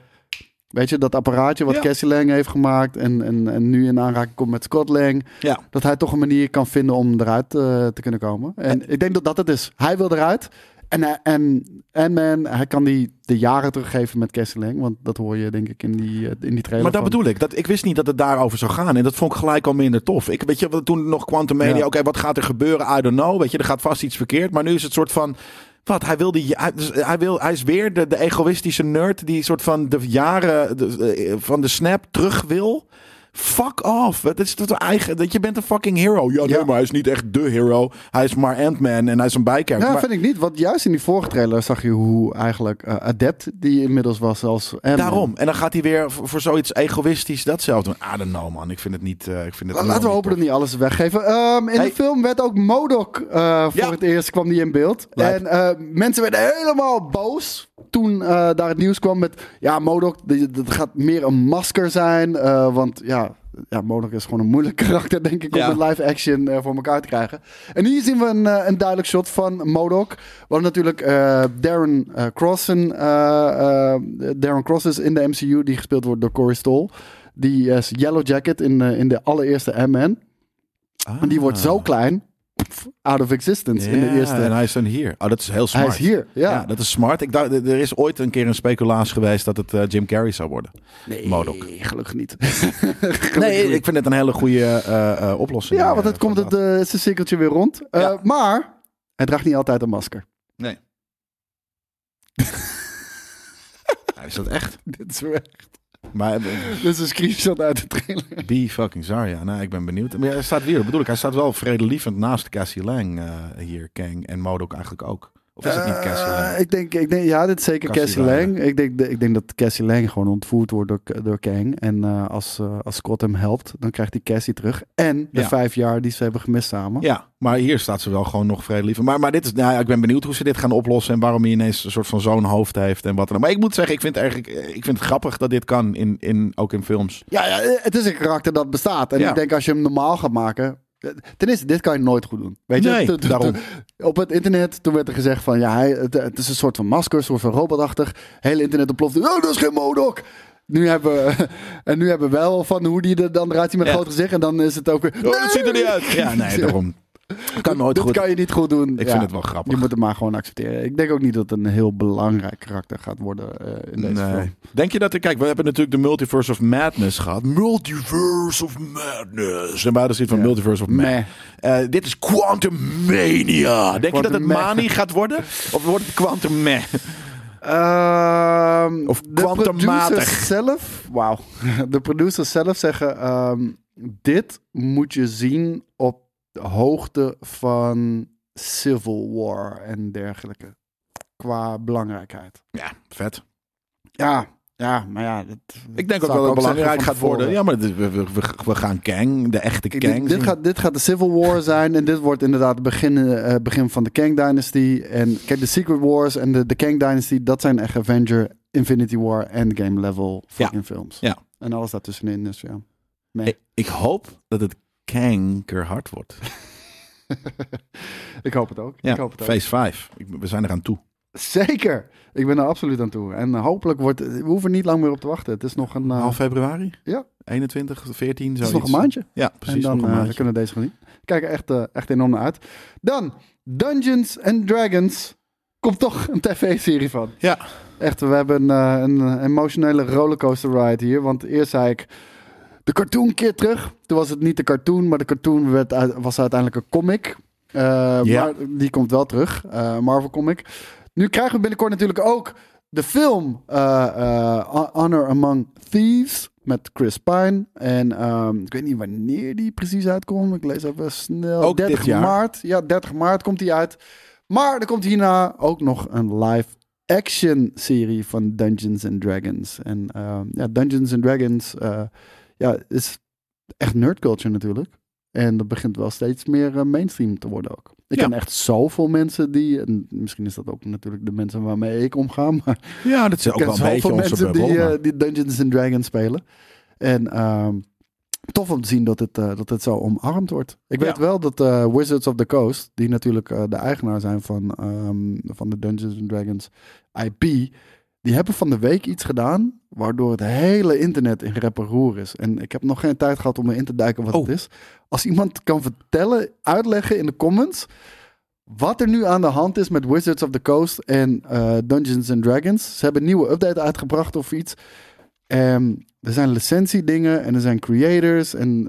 C: weet je, dat apparaatje wat
B: Ja.
C: Cassie Lang heeft gemaakt en, en, en nu in aanraking komt met Scott Lang,
B: ja.
C: dat hij toch een manier kan vinden om eruit eh, te kunnen komen. En ik denk dat dat het is. Hij wil eruit. En, hij- en, en man, hij kan die de jaren teruggeven met Cassie Lang, want dat hoor je denk ik in die, eh, in die trailer.
B: Maar dat
C: van-
B: bedoel ik. Dat, ik wist niet dat het daarover zou gaan. En dat vond ik gelijk al minder tof. Ik weet je, wat- toen nog Quantum Media. Oké,
C: Ja.
B: wat gaat er gebeuren? I don't know. Weet je, er gaat vast iets verkeerd. Maar nu is het soort van. Wat, hij, wil die, hij, dus hij, wil, hij is weer de, de egoïstische nerd die soort van de jaren de- eh, van de snap terug wil. Fuck off. Het is toch eigen. Dat je bent een fucking hero. Ja, nee,
C: Ja.
B: maar hij is niet echt de hero. Hij is maar Ant-Man en hij is een bijkerk.
C: Ja,
B: maar
C: vind ik niet. Want juist in die vorige trailer zag je hoe eigenlijk eh, adept die inmiddels was als Ant-Man.
B: daarom. En dan gaat hij weer voor, voor zoiets egoïstisch datzelfde doen. I don't know, man. Ik vind het niet. eh, ik vind het
C: Laten we
B: helemaal niet
C: hopen dat niet alles weggeven. Ehm, in
B: Hey.
C: de film werd ook Modok eh, voor
B: Ja.
C: het eerst kwam die in beeld.
B: Lijp.
C: En eh, mensen werden helemaal boos toen eh, daar het nieuws kwam met... Ja, Modok, dat gaat meer een masker zijn. eh, want ja, Ja, Monarch is gewoon een moeilijk <laughs> karakter, denk ik,
D: Ja.
C: om een live action eh, voor elkaar te krijgen. En hier zien we een, eh, een duidelijk shot van Modok. Wat natuurlijk eh, Darren eh, Crossen, eh, eh, Darren Cross is in de MCU, die gespeeld wordt door Corey Stoll. Die eh, is Yellow Jacket in, eh, in de allereerste M-Man. En die wordt zo klein, pff, out of existence in de eerste.
B: Ah. En hij is dan hier. Oh, dat is heel smart.
C: Hij is hier, ja.
B: Ja, dat is smart. Ik dacht, er is ooit een keer een speculaas geweest dat het eh, Jim Carrey zou worden.
C: nee,
B: Modok.
C: gelukkig
B: <laughs>
C: niet.
B: Nee, ik vind het een hele goede eh, eh, oplossing.
C: Ja, want
B: eh,
C: het komt
B: voor
C: het, eh, het is een cirkeltje weer rond. Eh,
D: Ja.
C: Maar hij draagt niet altijd een masker. <laughs>
B: <laughs>
D: Nee.
B: dat. Is dat echt?
C: Dit is, weer-
B: Maar eh,
C: dit is een screenshot uit de trailer.
B: be fucking sorry. Ja, nou, ik ben benieuwd. Maar ja, hij staat weer, dat bedoel ik. Hij staat wel vredelievend naast Cassie Lang eh, hier, Kang. En Modok eigenlijk ook. Of is het niet Cassie Lang?
C: Eh, ik, denk, ik denk, ja, dit is zeker
B: Cassie
C: Cassie Lang. Ik denk, ik denk dat Cassie Lang gewoon ontvoerd wordt door, door Kang. En eh, als, eh, als Scott hem helpt, dan krijgt hij Cassie terug. En de
B: Ja.
C: vijf jaar die ze hebben gemist samen.
B: Ja, maar hier staat ze wel gewoon nog vredelievend. Maar, maar dit is, nou, ja, ik ben benieuwd hoe ze dit gaan oplossen. En waarom hij ineens een soort van zo'n hoofd heeft. En wat dan. ook. Maar ik moet zeggen, ik vind, het eigenlijk, eh, ik vind het grappig dat dit kan. In, in, ook in films.
C: Ja, ja, het is een karakter dat bestaat. En
B: Ja.
C: ik denk als je hem normaal gaat maken. eh, Ten eerste, dit kan je nooit goed doen. Weet je,
B: Nee,
C: Toen- toen-
B: daarom.
C: toen- Op het internet, toen werd er gezegd van ja, hij, het, het is een soort van masker, een soort van robotachtig. Hele internet ontplofte. Oh, dat is geen Modok. Nu hebben we, <laughs> en nu hebben we wel van hoe die er dan eruit ziet met
B: Ja.
C: groot gezicht. En dan is het ook weer.
B: Oh, dat ziet er niet uit. <laughs> Ja, nee, daarom. Kan
C: <laughs>
B: nooit
C: dit
B: goed.
C: kan je niet goed doen.
B: Ik
C: Ja.
B: vind het wel grappig.
C: Je moet hem maar gewoon accepteren. Ik denk ook niet dat het een heel belangrijk karakter gaat worden eh, in deze film.
B: Denk je dat... Kijk, we hebben natuurlijk de Multiverse of Madness gehad. Multiverse of Madness. En wij hadden zoiets van
C: Ja.
B: Multiverse of Madness.
C: Meh.
B: Eh, dit is Quantum Mania. Denk je dat het
C: Quantum Meh.
B: Mani gaat worden? Of wordt het Quantum Meh?
C: Ehm,
B: Of
C: de
B: kwantummatig.
C: producers zelf. Wauw. <laughs> De producers zelf zeggen: ehm, dit moet je zien op de hoogte van Civil War en dergelijke. Qua belangrijkheid.
B: Ja, vet.
C: Ja, ja, maar ja. Dat,
B: Ik denk
C: zou
B: ook wel dat het
C: zeggen
B: belangrijk
C: van
B: gaat worden.
C: tevoren.
B: Ja, maar dit- we, we, we- we gaan Kang, de echte
C: Kijk,
B: Kang.
C: dit, dit
B: zien.
C: gaat, dit gaat de Civil War zijn. En dit wordt inderdaad het begin, eh, begin van de Kang Dynasty. En kijk, de Secret Wars en de, de Kang Dynasty, dat zijn echt Avenger, Infinity War, Endgame level fucking films.
B: Ja.
C: En alles daartussenin is, ja. <laughs>
B: Ik, ik hoop dat het kankerhard wordt.
C: Ik hoop het ook.
B: Ja,
C: ik hoop het ook.
B: phase 5. Ik- We zijn eraan toe.
C: Zeker. Ik ben er absoluut aan toe. En hopelijk wordt... We hoeven niet lang meer op te wachten. Het is nog een, eh,
B: Half februari?
C: Ja.
B: 21, 14,
C: het
B: zoiets.
C: is nog een maandje.
B: Ja, precies.
C: en dan
B: nog een
C: eh,
B: maandje.
C: we kunnen we deze gaan zien. Ik kijk er echt, eh, echt enorm naar uit. Dan, Dungeons and Dragons. Komt toch een tv-serie van.
B: Ja.
C: Echt, we hebben eh, een emotionele rollercoaster ride hier. Want eerst zei ik de cartoon keer terug. Toen was het niet de cartoon, maar de cartoon werd, uit- was uiteindelijk een comic. Eh,
B: Ja.
C: Maar die komt wel terug, eh, Marvel comic. Nu krijgen we binnenkort natuurlijk ook de film eh, eh, Honor Among Thieves met Chris Pine. En ehm, ik weet niet wanneer die precies uitkomt. Ik lees even snel.
B: Ook
C: 30
B: dit jaar.
C: Oh, maart. Ja, 30 maart komt die uit. Maar er komt hierna ook nog een live action serie van Dungeons and Dragons. En ehm, ja, Dungeons and Dragons eh, ja, is echt nerdculture natuurlijk. En dat begint wel steeds meer eh, mainstream te worden ook. Ik
B: Ja.
C: ken echt zoveel mensen die, en misschien is dat ook natuurlijk de mensen waarmee ik omga, maar
B: Ja, dat is ook
C: ik
B: wel
C: ken
B: een beetje
C: zoveel
B: onze Nou,
C: mensen die,
B: bubbel. maar-
C: eh, die Dungeons and Dragons spelen. En ehm, tof om te zien dat het, eh, dat het zo omarmd wordt. Ik
B: Ja.
C: weet wel dat eh, Wizards of the Coast, die natuurlijk eh, de eigenaar zijn van, ehm, van de Dungeons and Dragons IP, die hebben van de week iets gedaan waardoor het hele internet in rep en roer is. En ik heb nog geen tijd gehad om erin te duiken wat
B: Oh.
C: het is. Als iemand kan vertellen, uitleggen in de comments wat er nu aan de hand is met Wizards of the Coast en eh, Dungeons and Dragons. Ze hebben een nieuwe update uitgebracht of iets. Ehm, er zijn licentiedingen en er zijn creators en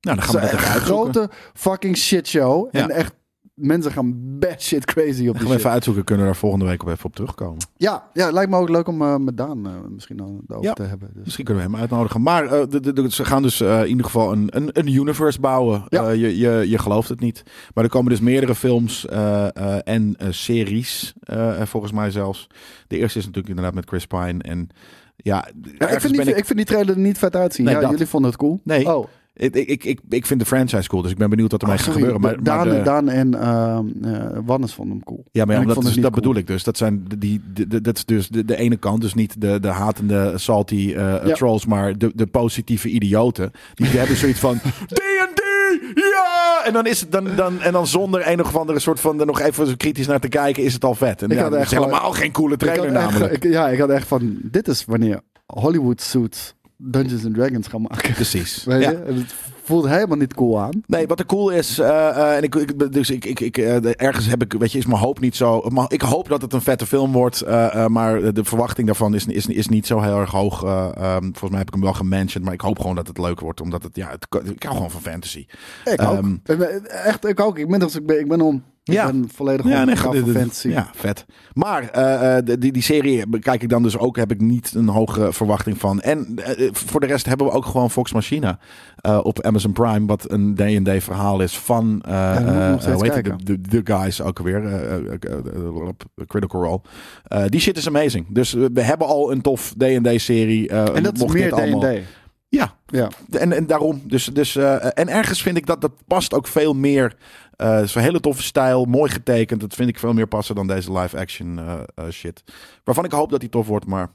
B: nou, dan gaan we dat
C: een
B: even uitzoeken.
C: grote fucking shitshow.
B: Ja.
C: En echt, mensen gaan bad shit crazy
B: Dan
C: op
B: gaan
C: die
B: we
C: shit.
B: even uitzoeken. Kunnen we daar volgende week op even op terugkomen.
C: Ja, ja, lijkt me ook leuk om eh, met Daan eh, misschien dan daarover
B: Ja.
C: te hebben. Dus.
B: Misschien kunnen we hem uitnodigen. Maar eh, de- de- de- ze gaan dus eh, in ieder geval een, een, een universe bouwen.
C: Ja.
B: Eh, je, je, je gelooft het niet. Maar er komen dus meerdere films eh, eh, en eh, series, eh, eh, volgens mij zelfs. De eerste is natuurlijk inderdaad met Chris Pine. En ja,
C: Ja, ik,
B: ergens
C: vind die,
B: ben
C: ik... vind die trailer er niet vet uitzien.
B: Nee,
C: ja,
B: dat.
C: jullie vonden het cool.
B: Nee.
C: Oh,
B: Ik, ik, ik, ik vind de franchise cool, dus ik ben benieuwd wat er mee gaat
C: sorry,
B: gebeuren. Maar, maar
C: Daan,
B: de-
C: Daan en ehm eh, Wannes vonden hem cool.
B: Ja, maar ja,
C: En ik
B: dat,
C: vond
B: is,
C: het
B: dat
C: niet
B: bedoel
C: cool.
B: ik dus. Dat, zijn die, die- die- dat is dus de, de ene kant. Dus niet de, de hatende salty eh,
C: Ja.
B: trolls, maar de, de positieve idioten.
C: <laughs>
B: Die hebben zoiets van D&D, ja! En dan is het dan, dan, en dan zonder een of andere soort van er nog even zo kritisch naar te kijken, is het al vet. En
C: Ik
B: ja,
C: had
B: dat is
C: echt gewoon-
B: helemaal geen coole
C: Ik had
B: trailer
C: echt-
B: namelijk.
C: ik- ja, ik had echt van, dit is wanneer Hollywood suits Dungeons and Dragons gaan maken.
B: Precies.
C: Weet
B: Dus- Ja.
C: je? En Het voelt helemaal niet cool aan.
B: Nee, wat er cool is, eh, eh, en ik, ik, dus ik, ik, ik, eh, ergens heb ik, weet je, is mijn hoop niet zo. maar ik hoop dat het een vette film wordt, eh, eh, maar de verwachting daarvan is, is, is niet zo heel erg hoog. Eh, ehm, volgens mij heb ik hem wel gemanaged, maar ik hoop gewoon dat het leuk wordt, omdat het, ja, het, ik hou gewoon van fantasy.
C: Ik ook.
B: Ehm.
C: Ik ben- Echt, ik ook. Ik ben, als ik ben, ik ben om.
B: Ja.
C: Ik ben volledig
B: Ja,
C: om.
B: nee,
C: Ik hou
B: dit-
C: van
B: dit-
C: fantasy.
B: ja, vet. Maar eh, eh, de- die, die serie bekijk ik dan dus ook, heb ik niet een hoge verwachting van. En eh, eh, voor de rest hebben we ook gewoon Fox Machina eh, op Amazon Prime, wat een D&D verhaal is van, eh
C: moet ik nog
B: eh,
C: steeds
B: hoe heet het,
C: kijken.
B: de, de, de guys ook weer, eh, eh, eh, op Critical Role. Eh, die shit is amazing. Dus we we hebben al een tof D&D serie. eh,
C: En dat is
B: mocht
C: meer
B: dit allemaal-
C: D&D.
B: Ja,
C: Ja.
B: en, en daarom. Dus, dus, eh, en ergens vind ik dat dat past ook veel meer. eh, Het is een hele toffe stijl, mooi getekend. Dat vind ik veel meer passen dan deze live action eh, eh, shit. Waarvan ik hoop dat die tof wordt, maar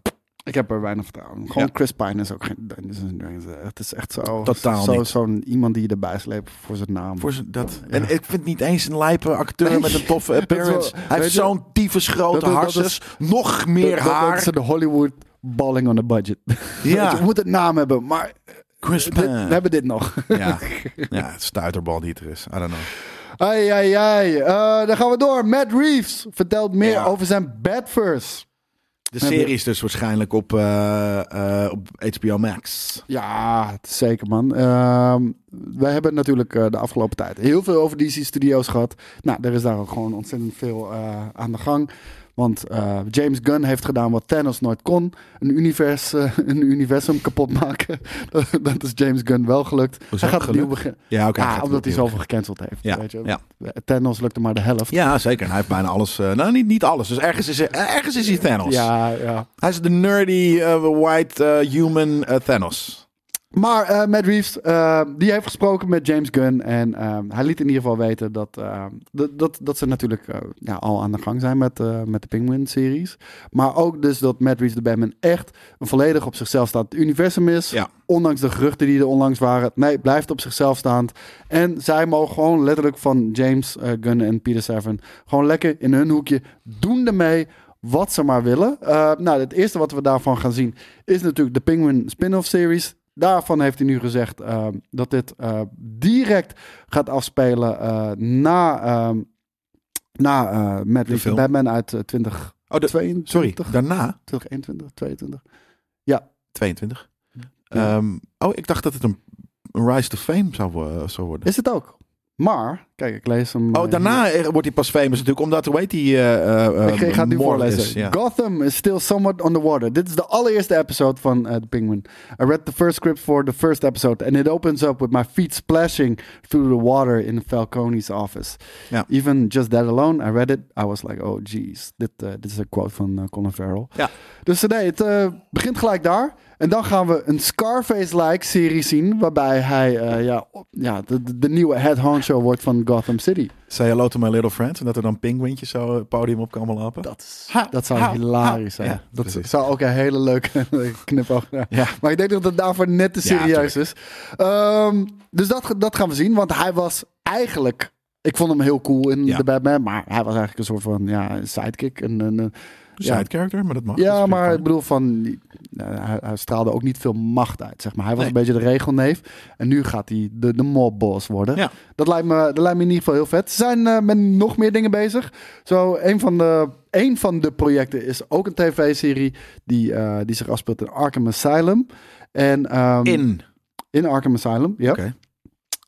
C: Ik heb er weinig vertrouwen in. Gewoon
B: Ja.
C: Chris Pine is ook geen Dungeons and Dragons. Het is echt zo...
B: Totaal
C: zo,
B: niet.
C: Zo'n iemand die je erbij sleept voor zijn naam.
B: voor z'n- dat. En ik vind niet eens een lijpe acteur
C: Nee.
B: met een toffe
C: <laughs> Dat is wel-
B: appearance. Hij
C: weet
B: heeft
C: je,
B: zo'n tyfus
C: dat-
B: grote
C: dat
B: harses, nog meer
C: Dat- dat-
B: haar.
C: Dat is de Hollywood balling on a budget. <laughs>
B: Ja.
C: Je moet een naam hebben, maar
B: Chris
C: dit- we
B: Pine.
C: hebben dit nog.
B: Ja, ja het stuiterbal die het er is. I don't know.
C: Ai, ai, ai. Eh, dan gaan we door. Matt Reeves vertelt meer
B: Ja.
C: over zijn Badverse.
B: De
C: Heb je-
B: serie is dus waarschijnlijk op, eh, eh, op HBO Max.
C: Ja, het is zeker man. Ehm wij hebben natuurlijk eh, de afgelopen tijd heel veel over DC Studios gehad. Nou, er is daar ook gewoon ontzettend veel eh, aan de gang. Want eh, James Gunn heeft gedaan wat Thanos nooit kon. Een, univers, eh, <laughs> een universum kapot maken. <laughs> dat, dat is James Gunn wel gelukt. hij gaat opnieuw
B: gelukt?
C: beginnen.
B: Ja, oké.
C: ah,
B: gaat
C: omdat hij
B: opnieuw.
C: zoveel gecanceld heeft.
B: Ja,
C: weet je.
B: ja.
C: Thanos lukte maar de helft.
B: Ja, zeker. En hij heeft bijna alles. eh, nou, niet, niet alles. Dus ergens is, hij- ergens is hij Thanos.
C: Ja, ja.
B: Hij is de nerdy, eh, white, eh, human eh, Thanos.
C: Maar eh Matt Reeves, eh, die heeft gesproken met James Gunn. En eh, hij liet in ieder geval weten dat, eh, dat, dat, dat ze natuurlijk eh, ja, al aan de gang zijn met, eh, met de Penguin-series. Maar ook dus dat Matt Reeves de Batman echt een volledig op zichzelf staand universum is.
B: Ja.
C: Ondanks de geruchten die er onlangs waren. Nee, blijft op zichzelf staand. En zij mogen gewoon letterlijk van James eh, Gunn en Peter Safran... gewoon lekker in hun hoekje doen ermee wat ze maar willen. Eh, nou, het eerste wat we daarvan gaan zien is natuurlijk de Penguin spin-off series. Daarvan heeft hij nu gezegd eh, dat dit eh, direct gaat afspelen eh, na, eh, na eh Matt Reeves'
B: film.
C: Batman uit eh,
B: Oh, de-
C: 2022.
B: sorry. Daarna
C: 2021, 22.
B: 22.
C: Ja.
B: Ehm, oh, ik dacht dat het een, een Rise to Fame zou, wo- eh, zou worden.
C: Is het ook. Maar, kijk, ik lees hem.
B: Oh,
C: eh,
B: daarna eh, wordt hij pas famous natuurlijk, omdat hoe heet die? eh eh, eh,
C: Ik ga het nu
B: Morris,
C: voorlezen.
B: ja.
C: Gotham is still somewhat on the water. Dit is de allereerste episode van eh, The Penguin. I read the first script for the first episode and it opens up with my feet splashing through the water in Falcone's office.
B: Ja.
C: Even just that alone, I read it, I was like, oh geez. Dit, eh, dit is een quote van eh, Colin Farrell.
B: Ja.
C: Dus eh, nee, het eh, begint gelijk daar. En dan gaan we een Scarface-like serie zien, waarbij hij eh, ja, op- ja, de, de- de nieuwe head honcho wordt van Gotham City.
B: Say hello to my little friends. En dat er dan pinguintjes zo het podium op komen lopen.
C: Dat, is,
B: Ha,
C: dat zou
B: ha,
C: hilarisch
B: ha.
C: zijn.
B: Ja,
C: dat
B: precies.
C: zou ook een hele leuke <laughs> knipoog zijn.
B: Ja.
C: Maar ik denk dat het daarvoor net te
B: Ja,
C: serieus is. Ehm, dus dat, dat gaan we zien. Want hij was eigenlijk... Ik vond hem heel cool in
B: Ja.
C: de Batman. Maar hij was eigenlijk een soort van ja, sidekick. Een, een, een-
B: Side
C: ja,
B: character, maar dat mag. Dat
C: ja,
B: is
C: maar ik
B: prima.
C: bedoel van... eh, hij, hij straalde ook niet veel macht uit, zeg maar. Hij was
B: Nee.
C: een beetje de regelneef. En nu gaat hij de, de mobboss worden.
B: Ja.
C: Dat lijkt, me, dat lijkt me in ieder geval heel vet. Ze zijn eh, met nog meer dingen bezig. Zo, een van de, een van de projecten is ook een tv-serie... Die, eh, die zich afspeelt in Arkham Asylum. En, ehm,
B: In.
C: in Arkham Asylum, ja.
B: Oké.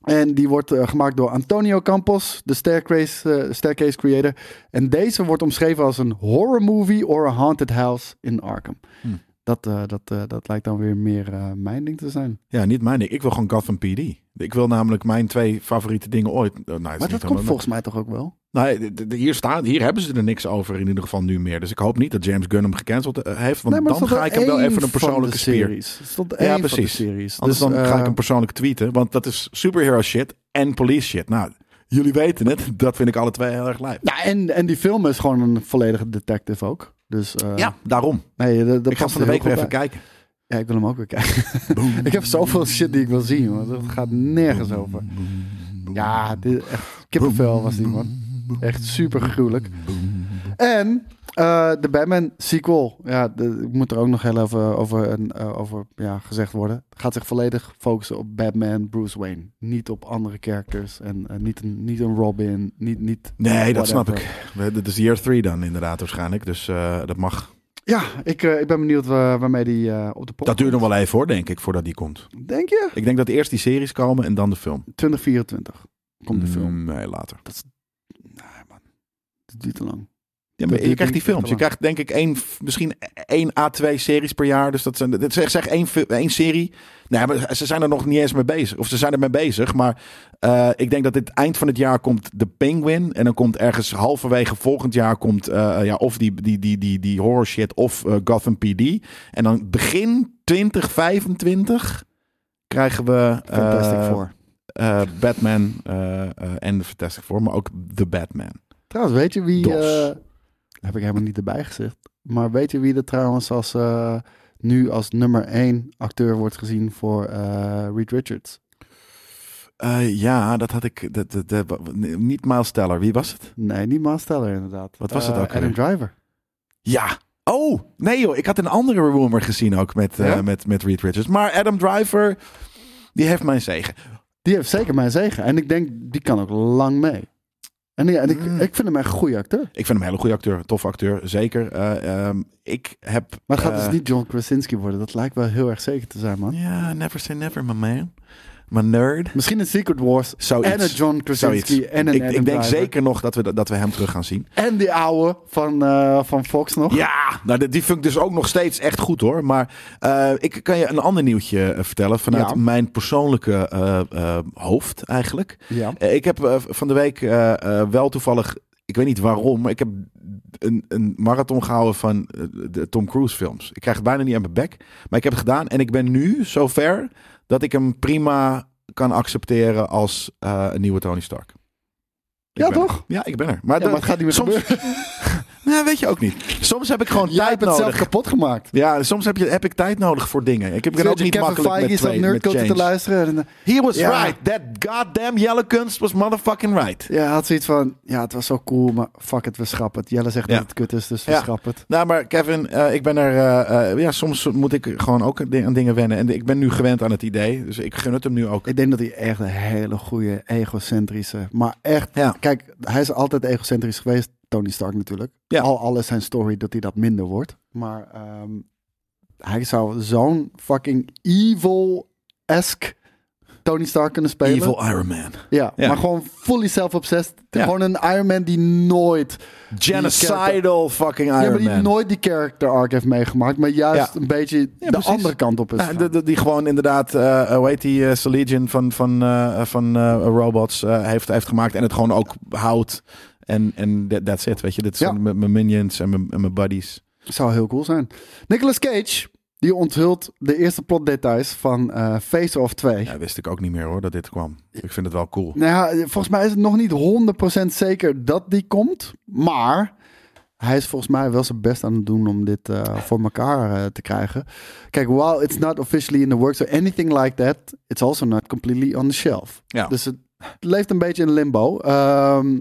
C: En die wordt eh, gemaakt door Antonio Campos, de staircase, eh, staircase creator. En deze wordt omschreven als een horror movie or a haunted house in Arkham.
B: Hmm.
C: Dat, eh, dat, eh, dat lijkt dan weer meer eh, mijn ding te zijn.
B: Ja, niet mijn ding. Ik wil gewoon Gotham PD. Ik wil namelijk mijn twee favoriete dingen ooit. eh, nou, het is
C: Maar
B: niet
C: dat komt
B: helemaal-
C: volgens mij toch ook wel?
B: Nou, d- d- hier, staan, hier hebben ze er niks over in ieder geval nu meer. Dus ik hoop niet dat James Gunn hem gecanceld eh, heeft. Want
C: maar er
B: dan
C: stond
B: ga
C: er
B: ik hem wel
C: één
B: even een
C: van
B: persoonlijke
C: de
B: spier.
C: series. Er stond
B: Ja,
C: één van de
B: precies.
C: series.
B: Anders
C: Dus,
B: dan ga ik
C: eh,
B: hem persoonlijk tweeten. Want dat is superhero shit en police shit. Nou, jullie weten het. <laughs> Dat vind ik alle twee heel erg lijp.
C: Nou, en, en die film is gewoon een volledige detective ook. Dus eh,
B: Ja, daarom.
C: nee, dat, dat
B: Ik ga
C: past
B: van de
C: er
B: week
C: heel
B: weer
C: goed
B: even
C: bij.
B: kijken.
C: Ja, ik wil hem ook weer kijken. <laughs> ik heb zoveel shit die ik wil zien, man. Dat gaat nergens over. Ja, dit, is echt kippenvel was die, man. Echt super gruwelijk. En eh, de Batman sequel. Ja, de, ik moet er ook nog heel even over, en, eh, over ja, gezegd worden. Gaat zich volledig focussen op Batman, Bruce Wayne. Niet op andere characters. En eh, niet, een, niet een Robin. Niet, niet
B: Nee, dat snap
C: whatever.
B: ik. We- Dit is year 3 dan inderdaad waarschijnlijk. Dus eh, dat mag.
C: Ja, ik, eh, ik ben benieuwd waar- waarmee die eh, op de
B: Dat
C: podcast...
B: duurt nog wel even hoor, denk ik, voordat die komt.
C: Denk je?
B: Ik denk dat eerst die series komen en dan de film.
C: 2024 komt de film.
B: Mm, Nee, later.
C: Nee, man. Dat duurt te lang.
B: Ja, maar
C: duurt
B: je
C: denk
B: krijgt die
C: ik echt
B: films. Je
C: te
B: krijgt denk ik één, f- misschien één A2 series per jaar. Dus dat zijn, dat zeg, zeg één, fi- één serie. Nee, maar ze zijn er nog niet eens mee bezig. Of ze zijn er mee bezig. Maar eh, ik denk dat dit eind van het jaar komt de Penguin. En dan komt ergens halverwege volgend jaar komt eh, ja, of die, die, die, die, die horror shit of eh, Gotham PD. En dan begin 2025 krijgen we eh,
C: Fantastic Four.
B: eh, Batman eh, eh, en de Fantastic Four. Maar ook The Batman.
C: Trouwens, weet je wie...
B: Dos.
C: eh, heb ik helemaal niet erbij gezegd. Maar weet je wie er trouwens als, eh, nu als nummer één acteur wordt gezien voor eh, Reed Richards?
B: Eh, ja, dat had ik. Dat, dat, dat- niet Miles Teller. Wie was het?
C: Nee, niet Miles Teller inderdaad.
B: Wat was het
C: Eh,
B: ook
C: Adam
B: alweer?
C: Driver.
B: Ja. Oh, nee joh. Ik had een andere rumor gezien ook met, eh,
C: Ja?
B: met, met Reed Richards. Maar Adam Driver, die heeft mijn zegen.
C: Die heeft zeker mijn zegen. En ik denk, die kan ook lang mee. En, ja, en ik,
B: Mm.
C: ik vind hem echt een goede acteur.
B: Ik vind hem een hele goede acteur. Toffe acteur, zeker. Eh, ehm, ik heb...
C: Maar het gaat
B: eh,
C: dus niet John Krasinski worden. Dat lijkt wel heel erg zeker te zijn, man.
B: Ja, never say never, my man. My nerd.
C: Misschien een Secret Wars.
B: Zoiets.
C: En een John Krasinski.
B: Zoiets.
C: En een
B: ik,
C: Adam
B: ik denk
C: Driver.
B: zeker nog dat we, dat we hem terug gaan zien.
C: En die ouwe van, eh, van Fox nog.
B: Ja, nou, die- die vind ik dus ook nog steeds echt goed hoor. Maar eh, ik kan je een ander nieuwtje eh, vertellen vanuit
C: Ja.
B: mijn persoonlijke eh, eh, hoofd eigenlijk.
C: Ja.
B: Eh, Ik heb eh, v- van de week eh, eh, wel toevallig, ik weet niet waarom, maar ik heb een, een marathon gehouden van eh, de Tom Cruise films. Ik krijg het bijna niet aan mijn bek, maar ik heb het gedaan en ik ben nu zover dat ik hem prima kan accepteren als eh, een nieuwe Tony Stark. Ik
C: Ja,
B: ben er.
C: toch?
B: Ja, ik ben er. Maar,
C: Ja,
B: dat-
C: maar het gaat niet meer
B: soms-
C: gebeuren.
B: Nou, weet je ook niet. Soms heb ik gewoon
C: Jij
B: tijd
C: hebt het zelf
B: nodig.
C: kapot gemaakt.
B: Ja, soms heb, je, heb ik tijd nodig voor dingen. Ik heb ik ben ook niet
C: Kevin
B: makkelijk
C: Feige
B: met,
C: is op
B: twee, met
C: Nerdculture te
B: change.
C: luisteren. En, eh,
B: He was
C: Ja.
B: right. That goddamn yellow kunst was motherfucking right.
C: ja, hij had zoiets van... Ja, het was zo cool, maar fuck it, we schrappen het. Jelle zegt
B: Ja.
C: dat het kut is, dus we
B: Ja.
C: schrappen het.
B: Nou, maar Kevin, eh, ik ben er... eh, eh, ja, soms moet ik gewoon ook aan di- aan dingen wennen. En ik ben nu gewend aan het idee. Dus ik gun het hem nu ook.
C: Ik denk dat hij echt een hele goede egocentrische... Maar echt,
B: Ja.
C: kijk, hij is altijd egocentrisch geweest. Tony Stark natuurlijk.
B: Ja.
C: Al alles zijn story dat hij dat minder wordt. Maar ehm, hij zou zo'n fucking evil-esque Tony Stark kunnen spelen.
B: Evil Iron Man.
C: Ja,
B: Ja.
C: maar gewoon fully self-obsessed.
B: Ja.
C: Gewoon een Iron Man die nooit...
B: Genocidal fucking Iron
C: ja, maar die
B: Man.
C: nooit die character arc heeft meegemaakt. Maar juist
B: Ja.
C: een beetje de
B: precies.
C: andere kant op is
B: Ja,
C: gegaan.
B: de- de- Nou, die gewoon inderdaad, eh, eh, hoe heet die, eh Legion van, van, eh, van eh, robots eh, heeft, heeft gemaakt. En het gewoon ook houdt. En, en that- that's it, weet je. Dit
C: Ja.
B: zijn mijn mijn minions en mijn- en mijn buddies.
C: Zou heel cool zijn. Nicolas Cage, die onthult de eerste plotdetails van eh, Face Off 2.
B: Ja, wist ik ook niet meer hoor, dat dit kwam. Ik vind het wel cool.
C: Nou ja, volgens mij is het nog niet 100% zeker dat die komt. Maar hij is volgens mij wel zijn best aan het doen om dit eh, voor elkaar eh, te krijgen. Kijk, while it's not officially in the works or anything like that, it's also not completely on the shelf.
B: Ja.
C: Dus het leeft een beetje in limbo. Ehm,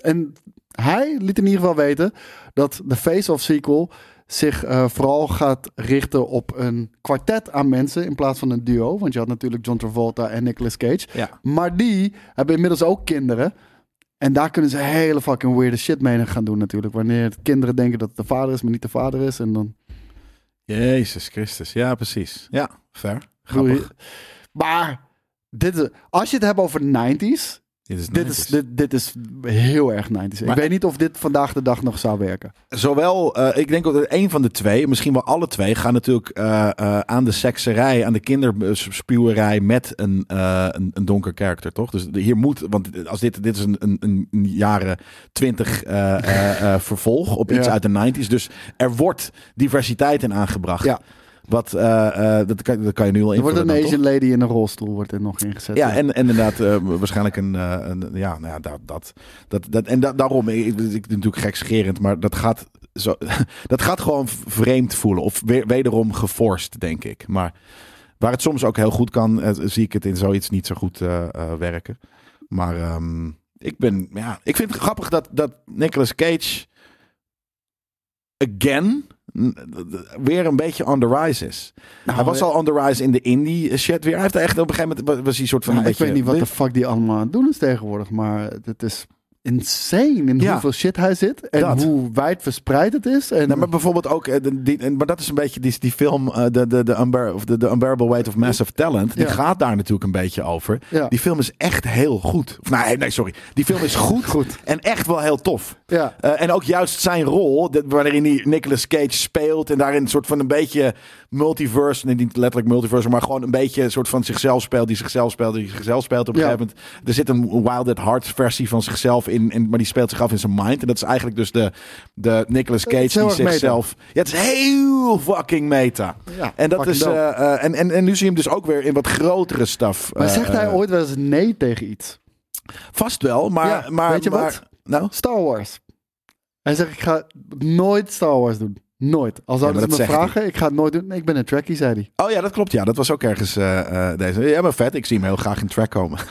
C: en hij liet in ieder geval weten dat de Face-Off sequel zich eh, vooral gaat richten op een kwartet aan mensen in plaats van een duo. Want je had natuurlijk John Travolta en Nicolas Cage.
B: Ja.
C: Maar die hebben inmiddels ook kinderen. En daar kunnen ze hele fucking weirde shit mee gaan doen natuurlijk. Wanneer de kinderen denken dat het de vader is, maar niet de vader is. En dan...
B: Jezus Christus, ja precies. Ja, ver. Grappig.
C: Maar dit is, als je het hebt over 90s,
B: Dit is,
C: Dit is, dit, dit is heel erg 90s.
B: Maar-
C: ik weet niet of dit vandaag de dag nog zou werken.
B: Zowel, eh, ik denk dat een van de twee, misschien wel alle twee, gaan natuurlijk eh, eh, aan de sekserij, aan de kinderspuwerij met een, eh, een, een donker karakter, toch? Dus de- hier moet, want als dit, dit is een, een, een jaren twintig eh, vervolg op iets
C: Ja.
B: uit de 90s. Dus er wordt diversiteit in aangebracht.
C: Ja.
B: Wat, eh, eh, dat, kan, dat kan je nu al
C: Er wordt
B: invullen
C: een
B: dan, toch?
C: Asian lady in een rolstoel wordt er nog ingezet.
B: Ja, en, en inderdaad, eh, waarschijnlijk een, eh, een- Ja, nou ja, dat. dat, dat, dat en da- daarom, ik, ik, ik natuurlijk gekscherend, maar dat gaat, zo, <laughs> dat gaat gewoon vreemd voelen. Of weer, wederom geforst, denk ik. Maar waar het soms ook heel goed kan, eh, zie ik het in zoiets niet zo goed eh, eh, werken. Maar ehm, ik ben. Ja, ik vind het grappig dat, dat Nicolas Cage. again. n- weer een beetje on the rise is.
C: Nou,
B: hij was al on the rise in de indie shit weer. Hij heeft echt op een gegeven moment was hij een soort van
C: Nou,
B: een
C: ik
B: beetje.
C: weet niet wat de fuck die allemaal aan het doen is tegenwoordig, maar het is insane in
B: Ja.
C: hoeveel shit hij zit en
B: Dat.
C: hoe wijd verspreid het is. En
B: Nee, maar bijvoorbeeld ook, eh, de- die, en- maar dat is een beetje die, die film, eh, de, de, de, unbear, of de, de Unbearable Weight of Massive Talent. Die
C: Ja.
B: gaat daar natuurlijk een beetje over.
C: Ja.
B: Die film is echt heel goed. Of, nee, nee, sorry. Die film is goed,
C: Goed.
B: en echt wel heel tof.
C: Ja.
B: Eh, en ook juist zijn rol, dat- waarin hij Nicolas Cage speelt en daarin een soort van een beetje multiverse, nee, niet letterlijk multiverse, maar gewoon een beetje een soort van zichzelf speelt, die zichzelf speelt, die zichzelf speelt op een
C: Ja.
B: gegeven moment. Er zit een Wild at Heart versie van zichzelf in, en, maar die speelt zich af in zijn mind. En dat is eigenlijk dus de, de Nicolas Cage
C: Het is heel
B: die
C: erg meta.
B: zichzelf... Ja, het is heel fucking meta.
C: Ja,
B: en, dat
C: fucking
B: is,
C: dope.
B: eh, eh, en, en, en nu zie je hem dus ook weer in wat grotere staf.
C: maar
B: eh,
C: zegt hij
B: eh,
C: ooit wel eens nee tegen iets?
B: Vast wel, maar...
C: Ja,
B: maar
C: weet je
B: maar,
C: wat?
B: Nou?
C: Star Wars. Hij zegt, ik ga nooit Star Wars doen. Nooit. Al zouden
B: maar
C: ze me
B: dat zegt
C: vragen, ik ga het nooit doen. Nee, ik ben een trekkie, zei hij.
B: Oh ja, dat klopt. Ja, dat was ook ergens eh, eh, deze. Ja, maar vet. Ik zie hem heel graag in track komen. <laughs>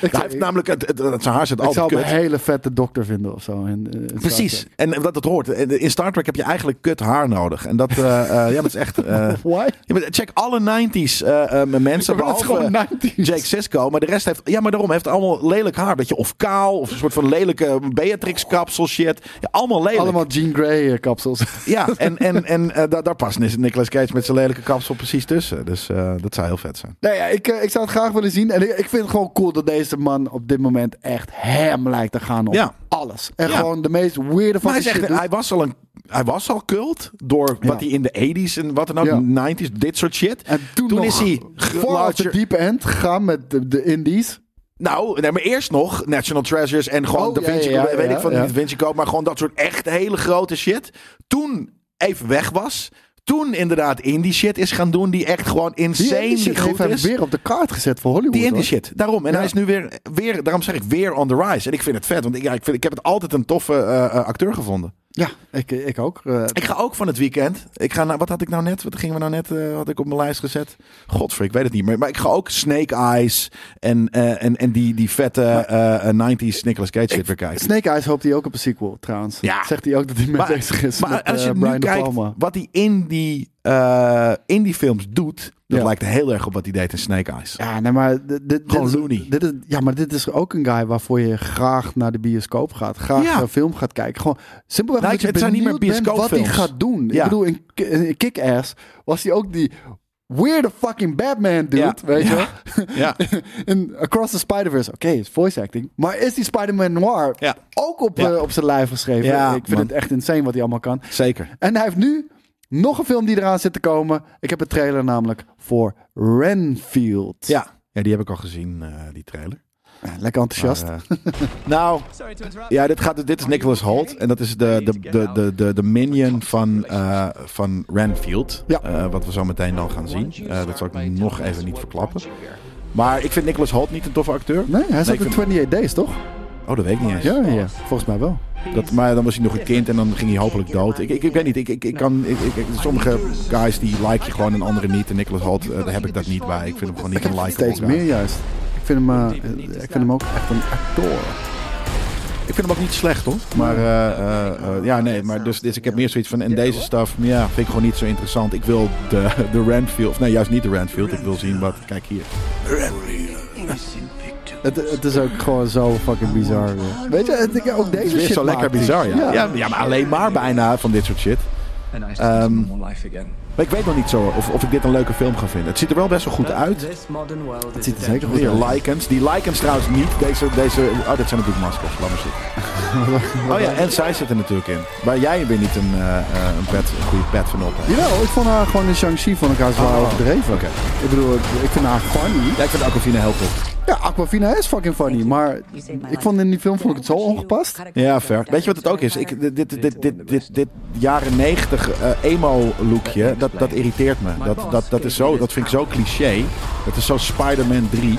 C: Ik,
B: hij heeft namelijk... Het, het, het- zijn haar zit
C: ik
B: altijd
C: zou hem
B: kut.
C: een hele vette dokter vinden of zo. in, eh, Star
B: Precies.
C: Trek.
B: En wat dat hoort. eh, In Star Trek heb je eigenlijk kut haar nodig. En dat, eh, eh, ja, dat is echt... eh,
C: Why?
B: ja, maar check alle 90s eh, eh, mensen,
C: Maar dat is
B: behalve
C: gewoon 90s.
B: Jake Sisko. Maar de rest heeft... Ja, maar daarom heeft allemaal lelijk haar. Weet je, of kaal, of een soort van lelijke Beatrix-kapsel shit. Ja, allemaal lelijk.
C: Allemaal Jean Grey eh, <laughs> kapsels.
B: Ja, en, en, en eh, daar- daar past Nicolas Cage met zijn lelijke kapsel precies tussen. Dus eh, dat zou heel vet zijn.
C: Nou ja, ik, eh, ik zou het graag willen zien. En ik, ik vind het gewoon cool dat deze man op dit moment echt hem lijkt te gaan op
B: Ja.
C: alles. En
B: Ja.
C: gewoon de meest weirde
B: Maar
C: van
B: hij, zegt,
C: shit doet.
B: hij, was al een, hij was al cult door
C: Ja.
B: wat hij in de 80s en wat dan ook,
C: Ja.
B: 90s, dit soort shit.
C: En toen, nog
B: is hij
C: voor op de
B: larger-
C: deep end gegaan met de, de indies.
B: Nou, nee, maar eerst nog National Treasures en gewoon
C: Oh,
B: Da
C: ja,
B: Vinci,
C: ja, ja,
B: weet
C: ja,
B: ik van
C: ja.
B: Da Vinci Code, maar gewoon dat soort echt hele grote shit. Toen even weg was. Toen inderdaad indie shit is gaan doen die echt gewoon
C: Die
B: insane
C: indie shit
B: goed
C: heeft hij
B: is.
C: weer op de kaart gezet voor Hollywood.
B: Die indie
C: hoor.
B: shit. Daarom. En
C: Ja.
B: hij is nu weer, weer, daarom zeg ik, weer on the rise. En ik vind het vet, want ik, ja, ik, vind, ik heb het altijd een toffe eh, eh, acteur gevonden.
C: Ja, ik, ik ook. eh,
B: Ik ga ook van het weekend. Ik ga naar, wat had ik nou net? Wat gingen we nou net? eh, had ik op mijn lijst gezet? Godver, ik weet het niet meer. Maar ik ga ook Snake Eyes en, eh, en, en die, die vette eh, eh, 90s Nicolas Cage shit weer kijken.
C: Snake Eyes hoopt hij ook op een sequel, trouwens.
B: Ja.
C: Zegt hij ook dat hij mee bezig is
B: maar
C: met
B: als je
C: eh,
B: nu
C: Brian De
B: kijkt
C: Palma.
B: wat hij in die, eh, in die films doet, dat
C: Ja.
B: lijkt heel erg op wat hij deed in Snake Eyes.
C: Ja, nee, maar dit, dit,
B: Gewoon
C: dit is-
B: loony.
C: Dit is, ja, maar dit is ook een guy waarvoor je graag naar de bioscoop gaat. Graag
B: Ja.
C: een film gaat kijken. Gewoon simpelweg
B: Nou,
C: omdat
B: het
C: je
B: zijn niet meer
C: benieuwd bent wat hij
B: bioscoopfilms.
C: gaat doen. Ik
B: Ja.
C: bedoel, in, Ki- in Kick-Ass was hij ook die weirde fucking Batman dude,
B: Ja.
C: weet je
B: Ja.
C: wel?
B: <laughs> Ja.
C: <laughs> in Across the Spider-Verse, oké, is voice acting. Maar is die Spider-Man noir
B: Ja.
C: ook op,
B: Ja.
C: eh, op zijn lijf geschreven?
B: Ja,
C: ik vind
B: man.
C: het echt insane wat hij allemaal kan.
B: Zeker.
C: En hij heeft nu nog een film die eraan zit te komen. Ik heb een trailer namelijk voor Renfield. <laughs>
B: Ja. ja, die heb ik al gezien, eh, die trailer.
C: Ja, Lekker enthousiast. <laughs>
B: Maar, eh, <laughs> nou, ja, dit, gaat, dus- dit is Nicholas Holt. En dat is de, de, de, de, de, de minion van, eh, van Renfield.
C: Ja.
B: Eh, wat we zo meteen dan gaan zien. Eh, dat zal ik nog even niet verklappen. Maar ik vind Nicholas Holt niet een toffe acteur.
C: nee, hij zat
B: ik
C: in
B: vind-
C: 28 Days, toch?
B: Oh, dat weet ik niet eens.
C: Ja, ja, ja, volgens mij wel.
B: Dat, maar dan was hij nog een kind en dan ging hij hopelijk dood. Ik, ik, ik weet niet, ik, ik, ik kan, ik, ik- ik- sommige guys die like je gewoon en anderen niet. En Nicholas Holt, eh, daar heb ik dat niet bij. Ik vind hem gewoon niet een like.
C: Steeds meer juist. Ik vind, hem, eh, eh, ik vind hem ook echt een acteur.
B: Ik vind hem ook niet slecht hoor. Maar eh, eh, eh, ja, nee, maar dus, dus ik heb meer zoiets van. En deze stuff, ja, vind ik gewoon niet zo interessant. Ik wil de, <laughs> de Randfield, of nee, juist niet de Randfield. Ik wil zien wat. Kijk hier.
C: Het, het is ook gewoon zo fucking bizar. weer. Weet je, het, ik- ook deze
B: Het is weer
C: shit
B: zo lekker
C: maakt hij.
B: bizar, ja.
C: Ja.
B: Ja. ja. maar alleen maar bijna van dit soort shit.
D: And I start
B: Um,
D: normal life again.
B: Maar ik weet nog niet zo of, of ik dit een leuke film ga vinden. Het ziet er wel best wel goed uit.
D: This modern world
C: Het
D: is
C: ziet er
D: a
C: zeker
D: dead
C: goed
B: Hier,
C: uit.
B: Lycans. Die Lycans trouwens niet. Deze, deze... Oh, dat zijn natuurlijk maskers. Laat maar zitten. <laughs> Oh ja, en zij zitten natuurlijk in. Maar jij weer niet een, eh, eh, een, pet, een goede pet van op. hebt.
C: Jawel, ik vond haar gewoon in Shang-Chi vond ik haar zwaar
B: Oh,
C: overdreven.
B: oké.
C: Ik bedoel, ik, ik vind haar funny.
B: Ja, ik vind Aquafina heel goed.
C: Ja, Aquafina is fucking funny, maar ik vond in die film vond ik het zo ongepast.
B: Ja, ver. Weet je wat het ook is? Ik, dit, dit, dit, dit, dit, dit jaren 90 eh, emo-lookje, dat, dat irriteert me. Dat, dat, dat, is zo, dat vind ik zo cliché. Dat is zo Spider-Man 3.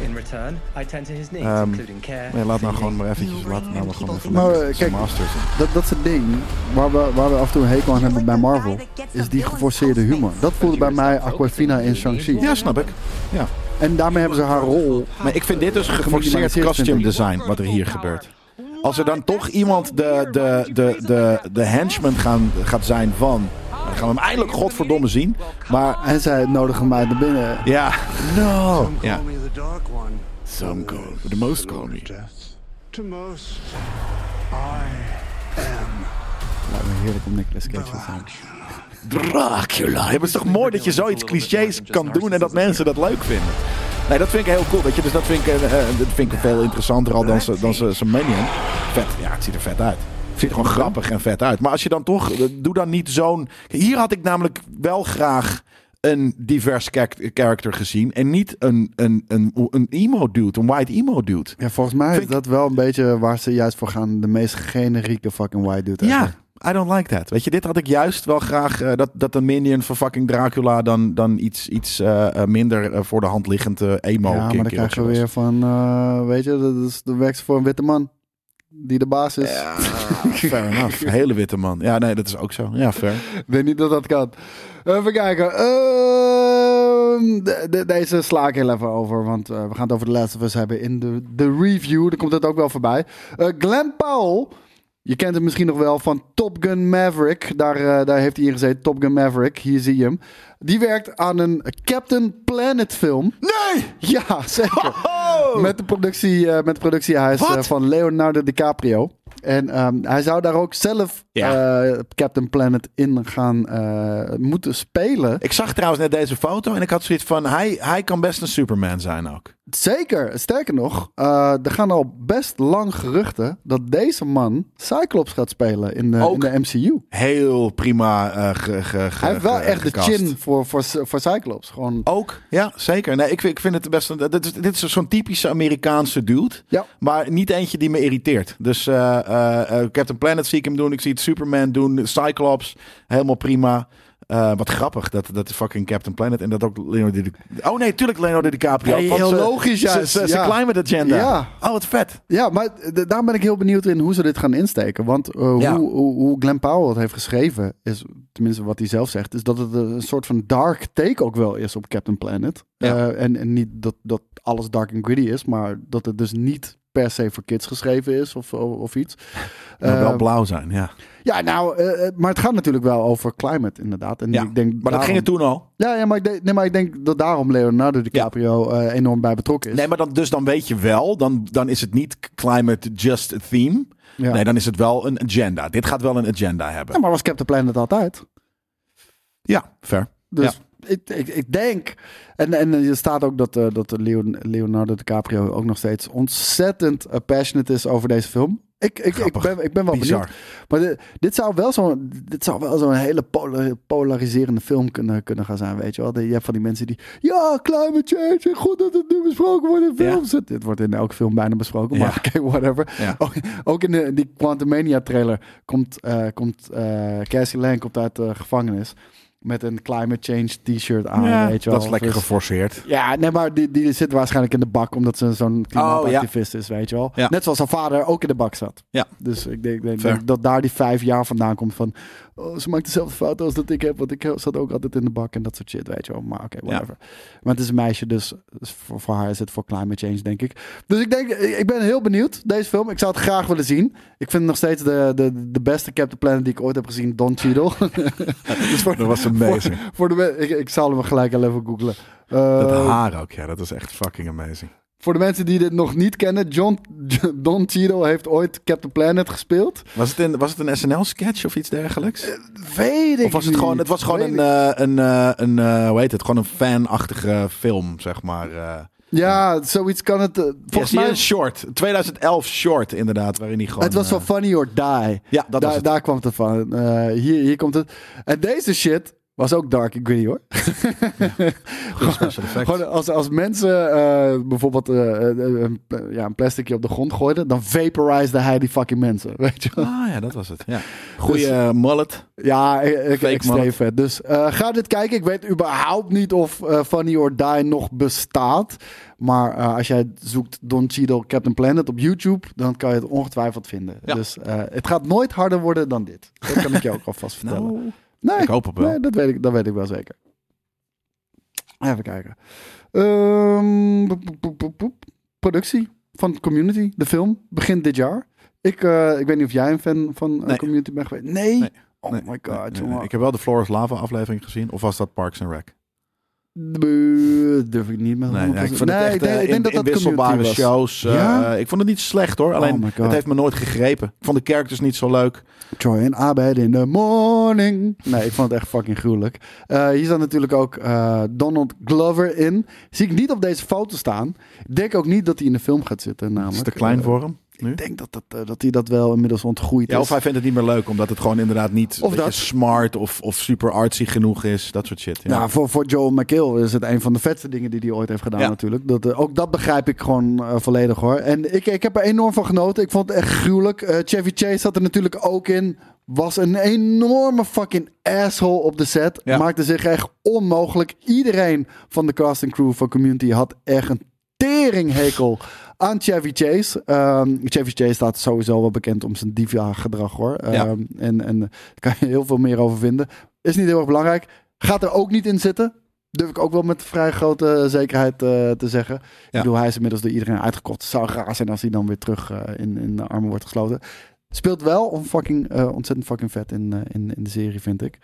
D: In return, I tend to his needs,
B: Ehm,
D: including care.
B: Nee, laat nou
D: feeding,
B: gewoon maar eventjes... Laat nou maar gewoon even
C: Maar,
B: lekker
C: eh,
B: zijn
C: kijk,
B: masters.
C: Dat, dat is het ding waar we, waar we af en toe een hekel aan hebben bij Marvel, is die geforceerde humor. Dat voelde bij mij Aquafina in Shang-Chi.
B: Ja, snap ik. Ja.
C: En daarmee hebben ze haar rol.
B: Maar ik vind dit dus geforceerd
C: Geminimaliseerd
B: costume
C: vind ik.
B: design, wat er hier gebeurt. Als er dan toch iemand de, de, de, de, de henchman gaan, gaat zijn van... Dan gaan we hem eindelijk godverdomme zien. Maar
C: En zij nodigen mij naar binnen.
B: ja, no. Oh, Ja.
E: Call me the Dark One.
B: Some call the most call me.
E: Death to most. I am
C: Lijkt me heerlijk om Nicolas Cage te zijn.
B: Dracula. Het is toch mooi dat je zoiets clichés kan doen en dat mensen dat leuk vinden. Nee, dat vind ik heel cool. Weet je, dus dat vind ik, eh, eh, dat vind ik veel interessanter al dan ze- dan ze- zijn Minion. Vet, ja, het ziet er vet uit. Het ziet er gewoon grappig en vet uit. Maar als je dan toch, eh, doe dan niet zo'n. Hier had ik namelijk wel graag een divers charac- character gezien en niet een, een, een, een emo dude, een white emo dude.
C: Ja, volgens mij is
B: Vind ik-
C: dat wel een beetje waar ze juist voor gaan. De meest generieke fucking white dude. ever.
B: Ja, I don't like that. Weet je, dit had ik juist wel graag eh, dat, dat een minion van fucking Dracula dan, dan iets, iets eh, eh, minder eh, voor de hand liggend eh, emo
C: Ja, maar dan
B: kinky
C: krijg je
B: of zo
C: weer van, eh, weet je, dat is de werkt ze voor een witte man. Die de baas is.
B: is. Ah, Fair enough. Een hele witte man. Ja, nee, dat is ook zo. Ja, fair.
C: <laughs> Ik weet niet dat dat kan. Even kijken. Ehm, de- de- deze sla ik heel even over, want eh, we gaan het over The Last of Us hebben in de, de review. Daar komt het ook wel voorbij. Eh Glenn Powell, je kent hem misschien nog wel van Top Gun Maverick. Daar, eh, daar heeft hij in gezeten, Top Gun Maverick. Hier zie je hem. Die werkt aan een Captain Planet film.
B: Nee!
C: <laughs> Ja, zeker.
B: Oh!
C: Met de productie, eh, met het productiehuis eh,
B: Wat?
C: van Leonardo DiCaprio. En ehm, hij zou daar ook zelf
B: Ja.
C: eh, Captain Planet in gaan eh, moeten spelen.
B: Ik zag trouwens net deze foto en ik had zoiets van, hij, hij kan best een Superman zijn ook.
C: Zeker, sterker nog, eh, er gaan al best lang geruchten dat deze man Cyclops gaat spelen in de, in
B: Ook?
C: de MCU.
B: Heel prima eh, ge, ge, ge-
C: Hij heeft wel
B: ge-
C: echt de
B: gecast.
C: chin voor, voor, voor Cyclops. Gewoon
B: Ook, ja, zeker. Nee, ik, vind- ik vind het best. een- Dit is, dit is zo'n typische Amerikaanse dude.
C: Ja.
B: Maar niet eentje die me irriteert. Dus eh, eh, eh, Captain Planet zie ik hem doen. Ik zie het Superman doen. Cyclops. Helemaal prima. Eh, wat grappig dat, dat fucking Captain Planet en dat ook Leonardo DiCaprio. Oh nee, tuurlijk Leonardo DiCaprio.
C: Hey,
B: want
C: heel
B: ze-
C: logisch
B: ze-
C: juist,
B: Ze, ze,
C: ja.
B: climate agenda.
C: Ja.
B: Oh, wat vet.
C: Ja, maar d- daar ben ik heel benieuwd in hoe ze dit gaan insteken. Want eh,
B: Ja.
C: hoe, hoe, hoe Glenn Powell het heeft geschreven, is, tenminste wat hij zelf zegt, is dat het een soort van dark take ook wel is op Captain Planet.
B: Ja.
C: Eh, en, en niet dat, dat alles dark en gritty is, maar dat het dus niet per se voor kids geschreven is of, of, of
B: <laughs>
C: iets.
B: Maar Nou, wel
C: Eh,
B: blauw zijn, ja.
C: ja, nou, eh, eh, maar het gaat natuurlijk wel over climate inderdaad. En
B: ja.
C: ik denk
B: maar dat ging het toen al.
C: Ja, ja maar, ik denk, nee, maar ik denk dat daarom Leonardo DiCaprio eh, enorm bij betrokken is.
B: Nee, maar dan, dus dan weet je wel, dan, dan is het niet climate just a theme.
C: Ja.
B: Nee, dan is het wel een agenda. Dit gaat wel een agenda hebben.
C: ja, maar was Captain Planet altijd?
B: Ja, fair.
C: Dus
B: Ja.
C: ik, ik, ik denk. En, en er staat ook dat, eh, dat Leon, Leonardo DiCaprio ook nog steeds ontzettend eh, passionate is over deze film. Ik, ik, ik,
B: Grappig.
C: ben, ik ben wel
B: Bizar.
C: benieuwd. Maar dit, dit zou wel zo'n dit zou wel zo'n hele pola- polariserende film kunnen, kunnen gaan zijn, weet je wel. Je hebt van die mensen die, ja, climate change, en goed dat het nu besproken wordt in
B: Ja.
C: films. Het- Dit wordt in elke film bijna besproken, maar <laughs>
B: Ja.
C: oké, whatever.
B: Ja.
C: Ook, ook in de, die Quantumania trailer komt, eh komt eh, Cassie Lang komt uit de gevangenis met een climate change t-shirt aan,
B: Ja,
C: Ah, weet je wel.
B: dat is lekker
C: Dus-
B: geforceerd.
C: ja, nee, maar die, die zit waarschijnlijk in de bak omdat ze zo'n klimaatactivist is, weet je wel.
B: Oh, Ja.
C: Net zoals haar vader ook in de bak zat.
B: Ja.
C: Dus ik denk, ik denk
B: Fair.
C: dat- dat daar die vijf jaar vandaan komt van... Oh, ze maakt dezelfde fout als dat ik heb, want ik zat ook altijd in de bak en dat soort shit, weet je wel. Maar oké, whatever. Maar het is een meisje, dus dus voor, voor haar is het voor climate change, denk ik. Dus ik denk, ik ben heel benieuwd, deze film. Ik zou het graag willen zien. Ik vind het nog steeds de, de, de beste Captain Planet die ik ooit heb gezien,
B: <laughs>
C: Don Cheadle. <laughs> dus voor,
B: Dat
C: <laughs>
B: was amazing.
C: voor de, me- ik, ik zal hem gelijk al even googlen. Eh,
B: Dat haar ook, ja, dat is echt fucking amazing.
C: Voor de mensen die dit nog niet kennen, John, <laughs> Don Cheadle heeft ooit Captain Planet gespeeld.
B: Was het een, was het een SNL-sketch of iets dergelijks?
C: Eh, Weet ik
B: Of was het gewoon, het was gewoon een, eh, een, eh, een eh, hoe heet het, gewoon een fanachtige film, zeg maar. eh.
C: Ja, zoiets kan het... eh,
B: Ja,
C: volgens
B: zie je,
C: mij...
B: een short. 2011 short, inderdaad, waarin hij gewoon...
C: het was
B: eh,
C: van Funny or Die.
B: Ja, dat
C: daar,
B: was het.
C: daar kwam het van. Eh, hier, hier komt het. En deze shit was ook dark and gritty hoor.
B: goede special effects.
C: <laughs> Gewoon als, als mensen eh, bijvoorbeeld eh, eh, een, pla- ja, een plasticje op de grond gooiden, dan vaporized hij die fucking mensen. <laughs> Weet je wel?
B: Ah ja, dat was het. Ja.
C: Dus-
B: Goeie eh, mullet.
C: Ja, ik, ik,
B: Fake
C: ik steef
B: mullet.
C: het. Dus eh, ga dit kijken. Ik weet überhaupt niet of eh, Funny or Die nog bestaat. Maar eh, als jij zoekt Don Cheadle Captain Planet op YouTube, dan kan je het ongetwijfeld vinden.
B: Ja.
C: Dus eh, het gaat nooit harder worden dan dit. Dat kan
B: <laughs>
C: ik je ook alvast vertellen.
B: Nou,
C: nee,
B: ik hoop het wel.
C: Nee, dat weet ik, dat weet ik wel zeker. Even kijken. Ehm, boep, boep, boep, boep, boep. Productie van Community, de film, begint dit jaar. Ik, eh, ik weet niet of jij een fan van eh,
B: Nee.
C: Community bent geweest. Nee?
B: Nee.
C: Oh
B: Nee,
C: my god,
B: nee, nee, nee.
C: jongen.
B: Ik heb wel de Flores Lava aflevering gezien. Of was dat Parks and Rec?
C: Buh, durf ik niet met
B: Nee, nee,
C: 100%.
B: ik vond het
C: Nee,
B: echt
C: ik denk-
B: eh,
C: ik denk
B: in,
C: dat
B: in
C: dat Community
B: wisselbare
C: was.
B: shows. eh,
C: Ja? Oh
B: ik vond het niet slecht hoor. Alleen
C: my God.
B: het heeft me nooit gegrepen. Ik vond de characters niet zo leuk.
C: Troy en Abed in the morning. Nee, ik vond het echt fucking gruwelijk. Eh, hier staat natuurlijk ook eh, Donald Glover in. Zie ik niet op deze foto staan. Ik denk ook niet dat hij in de film gaat zitten. Namelijk.
B: is te klein
C: Eh,
B: voor hem. Nu?
C: Ik denk dat, dat, eh, dat hij dat wel inmiddels ontgroeid
B: Ja,
C: is.
B: of hij vindt het niet meer leuk omdat het gewoon inderdaad niet
C: Of
B: weet je,
C: dat.
B: smart of, of super artsy genoeg is. Dat soort shit. Ja.
C: Nou, voor, voor Joel McHale is het een van de vetste dingen die hij ooit heeft gedaan
B: Ja.
C: natuurlijk. Dat, eh, ook dat begrijp ik gewoon eh, volledig hoor. En ik, ik heb er enorm van genoten. Ik vond het echt gruwelijk. Eh, Chevy Chase zat er natuurlijk ook in. Was een enorme fucking asshole op de set.
B: Ja.
C: Maakte zich echt onmogelijk. Iedereen van de casting crew van Community had echt een teringhekel aan Chevy Chase. Ehm, Chevy Chase staat sowieso wel bekend om zijn diva gedrag hoor.
B: Ja.
C: Ehm, en, en <laughs> daar kan je heel veel meer over vinden. Is niet heel erg belangrijk. Gaat er ook niet in zitten. Durf ik ook wel met vrij grote zekerheid eh, te zeggen. Ik
B: Ja.
C: bedoel, hij is inmiddels door iedereen uitgekocht. Het zou raar zijn als hij dan weer terug eh, in, in de armen wordt gesloten. Speelt wel on fucking, eh, ontzettend fucking vet in, eh, in, in de serie, vind ik.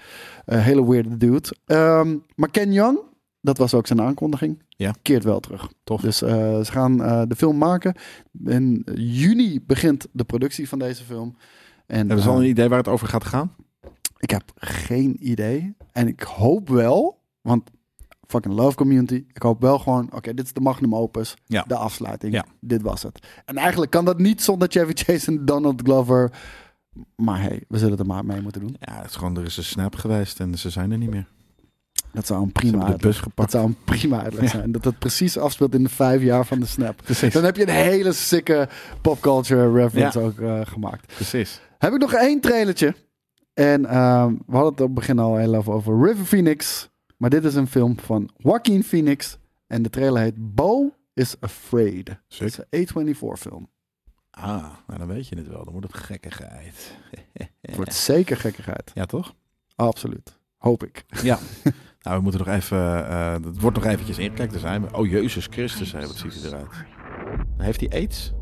C: Eh, hele weirde dude. Ehm, maar Ken Young, dat was ook zijn aankondiging,
B: Ja.
C: keert wel terug.
B: Tof.
C: Dus eh, ze gaan eh, de film maken. In juni begint de productie van deze film. En,
B: Hebben ze al
C: eh,
B: een idee waar het over gaat gaan?
C: ik heb geen idee. En ik hoop wel, want fucking love community. Ik hoop wel gewoon, oké, dit is de magnum opus.
B: Ja.
C: De afsluiting.
B: Ja.
C: Dit was het. En eigenlijk kan dat niet zonder Chevy Chase en Donald Glover. Maar hey, we zullen er maar mee moeten doen.
B: Ja, het is gewoon, er is een snap geweest en ze zijn er niet meer.
C: Dat zou een
B: Ze
C: prima
B: hebben de
C: uitleg-
B: bus
C: dat
B: gepakt.
C: zou een prima uitleg zijn. Dat het precies afspeelt in de vijf jaar van de snap.
B: Precies.
C: Dan heb je een hele sikke popculture reference
B: Ja.
C: ook eh, gemaakt.
B: Precies.
C: Heb ik nog één trailertje. En ehm, we hadden het op het begin al heel even over River Phoenix. Maar dit is een film van Joaquin Phoenix. En de trailer heet Bo is Afraid. Het is
B: Zeker.
C: een A24 film.
B: Ah, nou dan weet je het wel. Dan wordt het gekkigheid.
C: Het wordt zeker gekkigheid.
B: <laughs> Ja, toch?
C: Absoluut. Hoop ik.
B: Ja. <laughs> nou, we moeten nog even... eh, het wordt nog eventjes in. Kijk, daar zijn we. Oh, Jezus Christus, hè, wat ziet hij eruit. Heeft hij aids?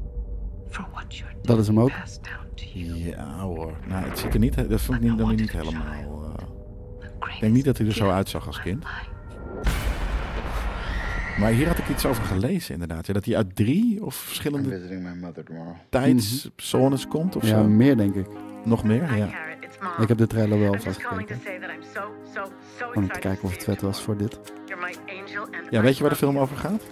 F: for what your
C: Dat is hem ook.
F: passed down to you.
B: Ja hoor. Nou, het ziet er niet... Dat vond ik niet, dan weer niet helemaal... eh,
F: The
B: ik denk niet dat hij er zo uitzag als kind. Maar hier had ik iets over gelezen, inderdaad. Ja, dat hij uit drie of verschillende
G: visiting my mother tomorrow.
B: tijdszones komt of
C: Mhm. Ja,
B: zo.
C: meer denk ik.
B: Nog meer, ja.
C: Ik heb de trailer wel vast
H: calling to
C: gekeken.
H: say that I'm so, so, so
C: Om te
H: excited
C: kijken of het vet was voor dit.
H: you're my angel and
B: Ja, weet je waar de film over gaat?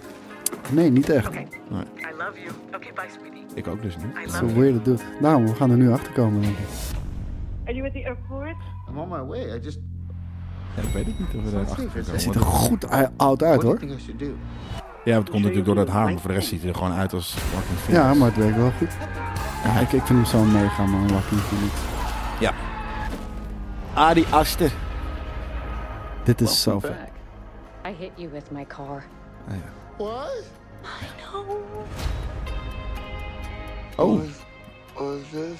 C: Nee, niet echt.
H: Okay,
B: Nee.
H: I love you. Okay, bye, sweetie.
B: Ik ook dus niet.
H: I
C: Zo
H: love you.
C: weird dude. Nou, we gaan er nu achter komen. denk ik.
H: Are you at the airport?
G: I'm on my way. I just.
B: Ja, ik weet het niet of we daar achter
G: Het ziet
C: Ziet er goed ui- oud uit
G: What do you
C: hoor.
G: think I should do?
B: Ja, want het komt natuurlijk door dat haar, maar voor de rest ziet hij er gewoon uit als fucking film.
C: Ja, maar het werkt wel goed. Ja, ik, ik vind hem zo mega man, Joaquin Phoenix.
B: ja. Adi Aster.
C: Dit is zo vet.
I: I hit you with my car.
G: What?
B: Oh,
G: What is this?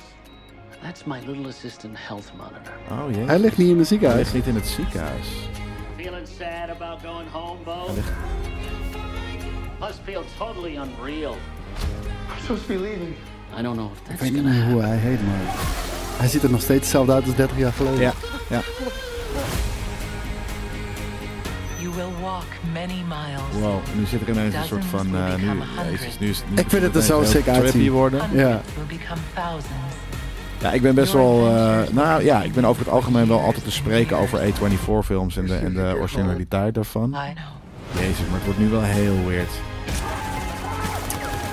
J: That's my little assistant health monitor.
B: oh jee.
C: Hij ligt niet in de
B: Hij
C: ziekenhuis.
B: ligt niet in het ziekenhuis.
J: Feeling sad about going home, Bo? Must feel totally unreal.
G: I'm supposed to be leaving.
J: I don't know if that's
C: Ik weet niet
J: gonna
C: meer
J: happen.
C: hoe hij heet, maar hij ziet er nog steeds hetzelfde uit als 30 jaar geleden.
B: Ja, ja.
F: You
K: You will walk many miles.
B: Wow, nu zit er ineens een soort van... eh, nu, jezus, nu is het nu
C: Ik vind het er zo
B: ineens heel
C: sick uitzien.
B: trippy worden.
C: Ja.
B: Ja, ik ben best wel... eh, nou ja, ik ben over het algemeen wel altijd te spreken over A24 films en de, en de originaliteit daarvan. Jezus, maar het wordt nu wel heel weird.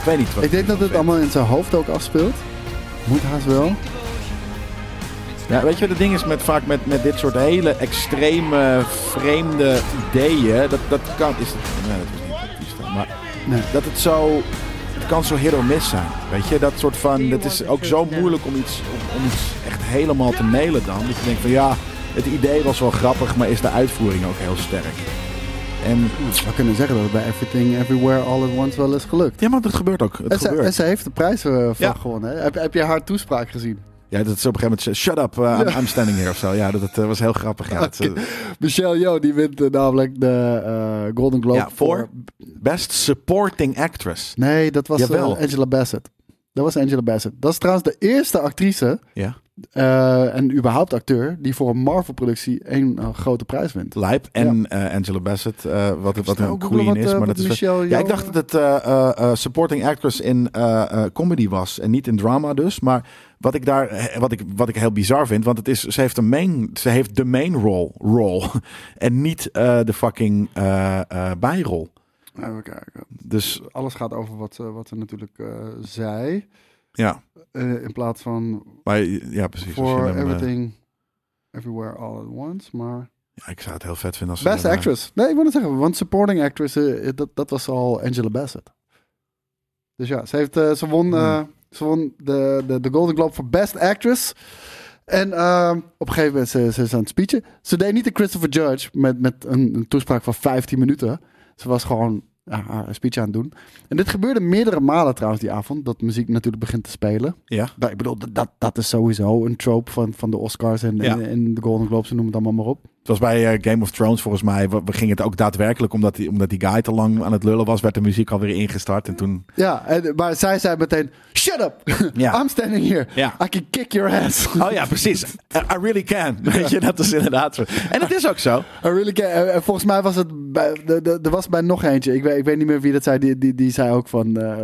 B: Ik weet niet wat
C: Ik denk dat het allemaal in zijn hoofd ook afspeelt. Moet haast wel.
B: Ja, weet je wat het ding is met, vaak met, met dit soort hele extreme, vreemde ideeën? Dat, dat kan... Is het, nee, dat is niet precies dan, maar dat het zo... Het kan zo hit or miss zijn, weet je? Dat soort van... Het is ook zo moeilijk om iets, om, om iets echt helemaal te mailen dan. Dat je denkt van ja, het idee was wel grappig, maar is de uitvoering ook heel sterk? En...
C: Ik zou kunnen zeggen dat het bij Everything Everywhere All at Once wel is gelukt.
B: Ja, maar dat gebeurt ook. Het
C: en, ze,
B: gebeurt.
C: en ze heeft de prijs eh, voor
B: Ja.
C: gewonnen. hè? Heb, heb je haar toespraak gezien?
B: Ja, dat is op een gegeven moment... Shut up, uh, I'm,
C: Ja.
B: I'm standing here of zo. Ja, dat, dat eh, was heel grappig. Ja, <laughs> dat, eh,
C: Michelle Yeoh die wint eh, namelijk de eh, Golden Globe
B: ja, voor Best Supporting Actress.
C: Nee, dat was eh,
B: Jawel.
C: Angela Bassett. Dat was Angela Bassett. Dat is trouwens de eerste actrice
B: Ja.
C: eh, en überhaupt acteur die voor een Marvel-productie één eh, grote prijs wint.
B: Lijp en eh, Angela Bassett, eh, wat, wat
C: snel
B: een
C: googlen
B: queen
C: wat,
B: is.
C: eh,
B: maar
C: wat
B: dat is
C: Michelle
B: ja, ik
C: Yeoh-
B: dacht dat het eh, eh, eh, supporting actress in eh, eh, comedy was en niet in drama dus. Maar wat ik daar, eh, wat ik, wat ik heel bizar vind, want het is, ze heeft een main, ze heeft de main role, role <laughs> en niet eh, de fucking eh, eh, bijrol.
C: Even kijken.
B: Dus
C: Alles gaat over wat, eh, wat ze natuurlijk eh, zei.
B: ja,
C: Eh, in plaats van
B: maar ja, precies. als je
C: voor
B: hem, eh,
C: Everything Everywhere All at Once. Maar
B: ja, ik zou het heel vet vinden als ze eh,
C: Best
B: daar-
C: actress. Nee, ik wil het zeggen, want supporting actress, eh, dat, dat was al Angela Bassett. Dus ja, ze, heeft, eh, ze won, eh, ze won de, de, de Golden Globe voor Best Actress. En ehm, op een gegeven moment ze, ze is aan het speechen. Ze deed niet de Christopher Judge met, met een, een toespraak van 15 minuten. Ze was gewoon ja, haar speech aan het doen. En dit gebeurde meerdere malen trouwens die avond. Dat muziek natuurlijk begint te spelen.
B: Ja.
C: Nou, Ik bedoel, dat, dat is sowieso een trope van, van de Oscars en,
B: Ja.
C: en, en de Golden Globes. en Noem het allemaal maar op.
B: Het was bij eh, Game of Thrones volgens mij. We, we gingen het ook daadwerkelijk, omdat die, omdat die guy te lang aan het lullen was, werd de muziek alweer ingestart. En toen
C: Ja, en, maar zij zei meteen: Shut <laughs> up!
B: Ja.
C: I'm standing here.
B: Ja.
C: I can kick your ass.
B: Oh ja, precies. I I really can. <laughs> Weet je, dat is inderdaad. zo. En het is ook zo.
C: <laughs> I really can. En- en volgens mij was het. bij- de- de- Er was bij nog eentje. Ik weet, ik weet niet meer wie dat zei. Die, die, die zei ook van. eh,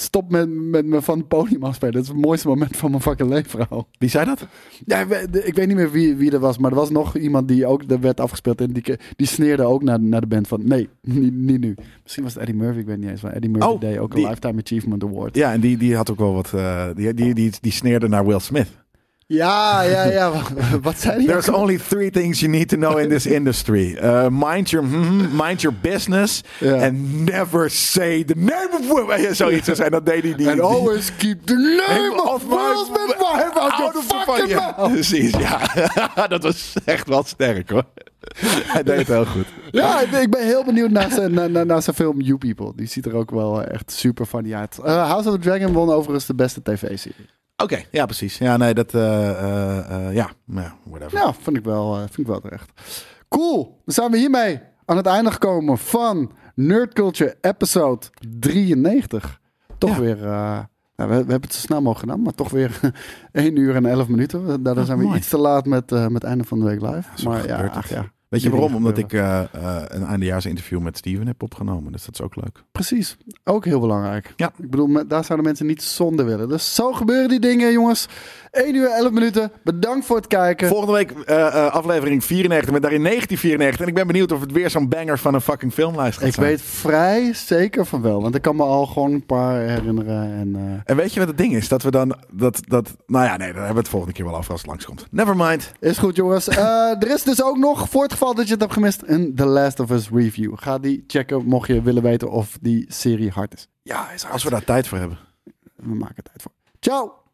C: Stop met, met me van het podium afspelen. Dat is het mooiste moment van mijn fucking leven. al."
B: Wie zei dat?
C: Ja, ik weet- ik weet niet meer wie, wie er was. Maar er was nog iemand die ook er werd afgespeeld. En die, ke- die sneerde ook naar, naar de band van. Nee, <laughs> niet, niet nu. Misschien was het Eddie Murphy. Ik weet niet eens. Maar Eddie Murphy
B: Oh,
C: deed ook
B: die-
C: een Lifetime Achievement Award.
B: Ja, en die, die had ook wel wat. eh, die, die, die, die sneerde naar Will Smith.
C: Ja, ja, ja. <laughs> Wat, wat zei die?
B: There's
C: ook?
B: only three things you need to know in this industry: Eh, mind your mhm, mind your business
C: Ja.
B: and never say the name of women. <laughs> Zoiets en dat deed hij die.
C: And
B: die-
C: always keep the name of Wilson Wahab out
B: Out
C: your
B: of the fucking
C: fucking
B: ja,
C: mouth.
B: Precies, ja. <laughs> dat was echt wel sterk hoor. Hij deed het heel goed.
C: Ja, ik- ik ben heel benieuwd naar zijn, naar, naar, naar zijn film You People. Die ziet er ook wel eh, echt super funny uit. Eh, House of the Dragon won overigens de beste tv-serie.
B: Oké, ja, precies. Ja, nee, dat. eh, eh, eh, ja, nou ja, whatever.
C: Ja, vond ik, wel, eh, vond ik wel terecht. Cool, dan zijn we hiermee aan het einde gekomen van Nerd Culture episode 93. Toch
B: Ja.
C: weer... eh, nou, we, we hebben het zo snel mogelijk gedaan, maar toch weer <laughs> 1 uur en 11 minuten. Daardoor zijn we
B: mooi.
C: iets te laat met, eh, met het einde van de week live.
B: Zo
C: maar Ah, ja,
B: gebeurt het.
C: ach ja.
B: Weet je
C: Die
B: waarom?
C: dingen
B: Omdat ik
C: gebeuren.
B: eh, eh, een eindejaars interview met Steven heb opgenomen. Dus dat is ook leuk.
C: Precies, ook heel belangrijk.
B: Ja.
C: Ik bedoel, me- daar zouden mensen niet zonder willen. Dus zo gebeuren die dingen, jongens. 1 uur 11 minuten. Bedankt voor het kijken.
B: Volgende week eh, eh, aflevering 94 met daarin 1994. En ik ben benieuwd of het weer zo'n banger van een fucking filmlijst gaat
C: ik
B: zijn.
C: weet vrij zeker van wel, want ik kan me al gewoon een paar herinneren. En, eh,
B: En weet je wat het ding is? Dat we dan... Dat, dat, nou ja, nee, daar hebben we het volgende keer wel over als het langskomt. Never mind.
C: Is goed, jongens. Eh, er is dus ook nog, voor het geval dat je het hebt gemist, een The Last of Us review. Ga die checken, mocht je willen weten of die serie hard is.
B: Ja, is als we daar tijd voor hebben.
C: We maken tijd voor. Ciao!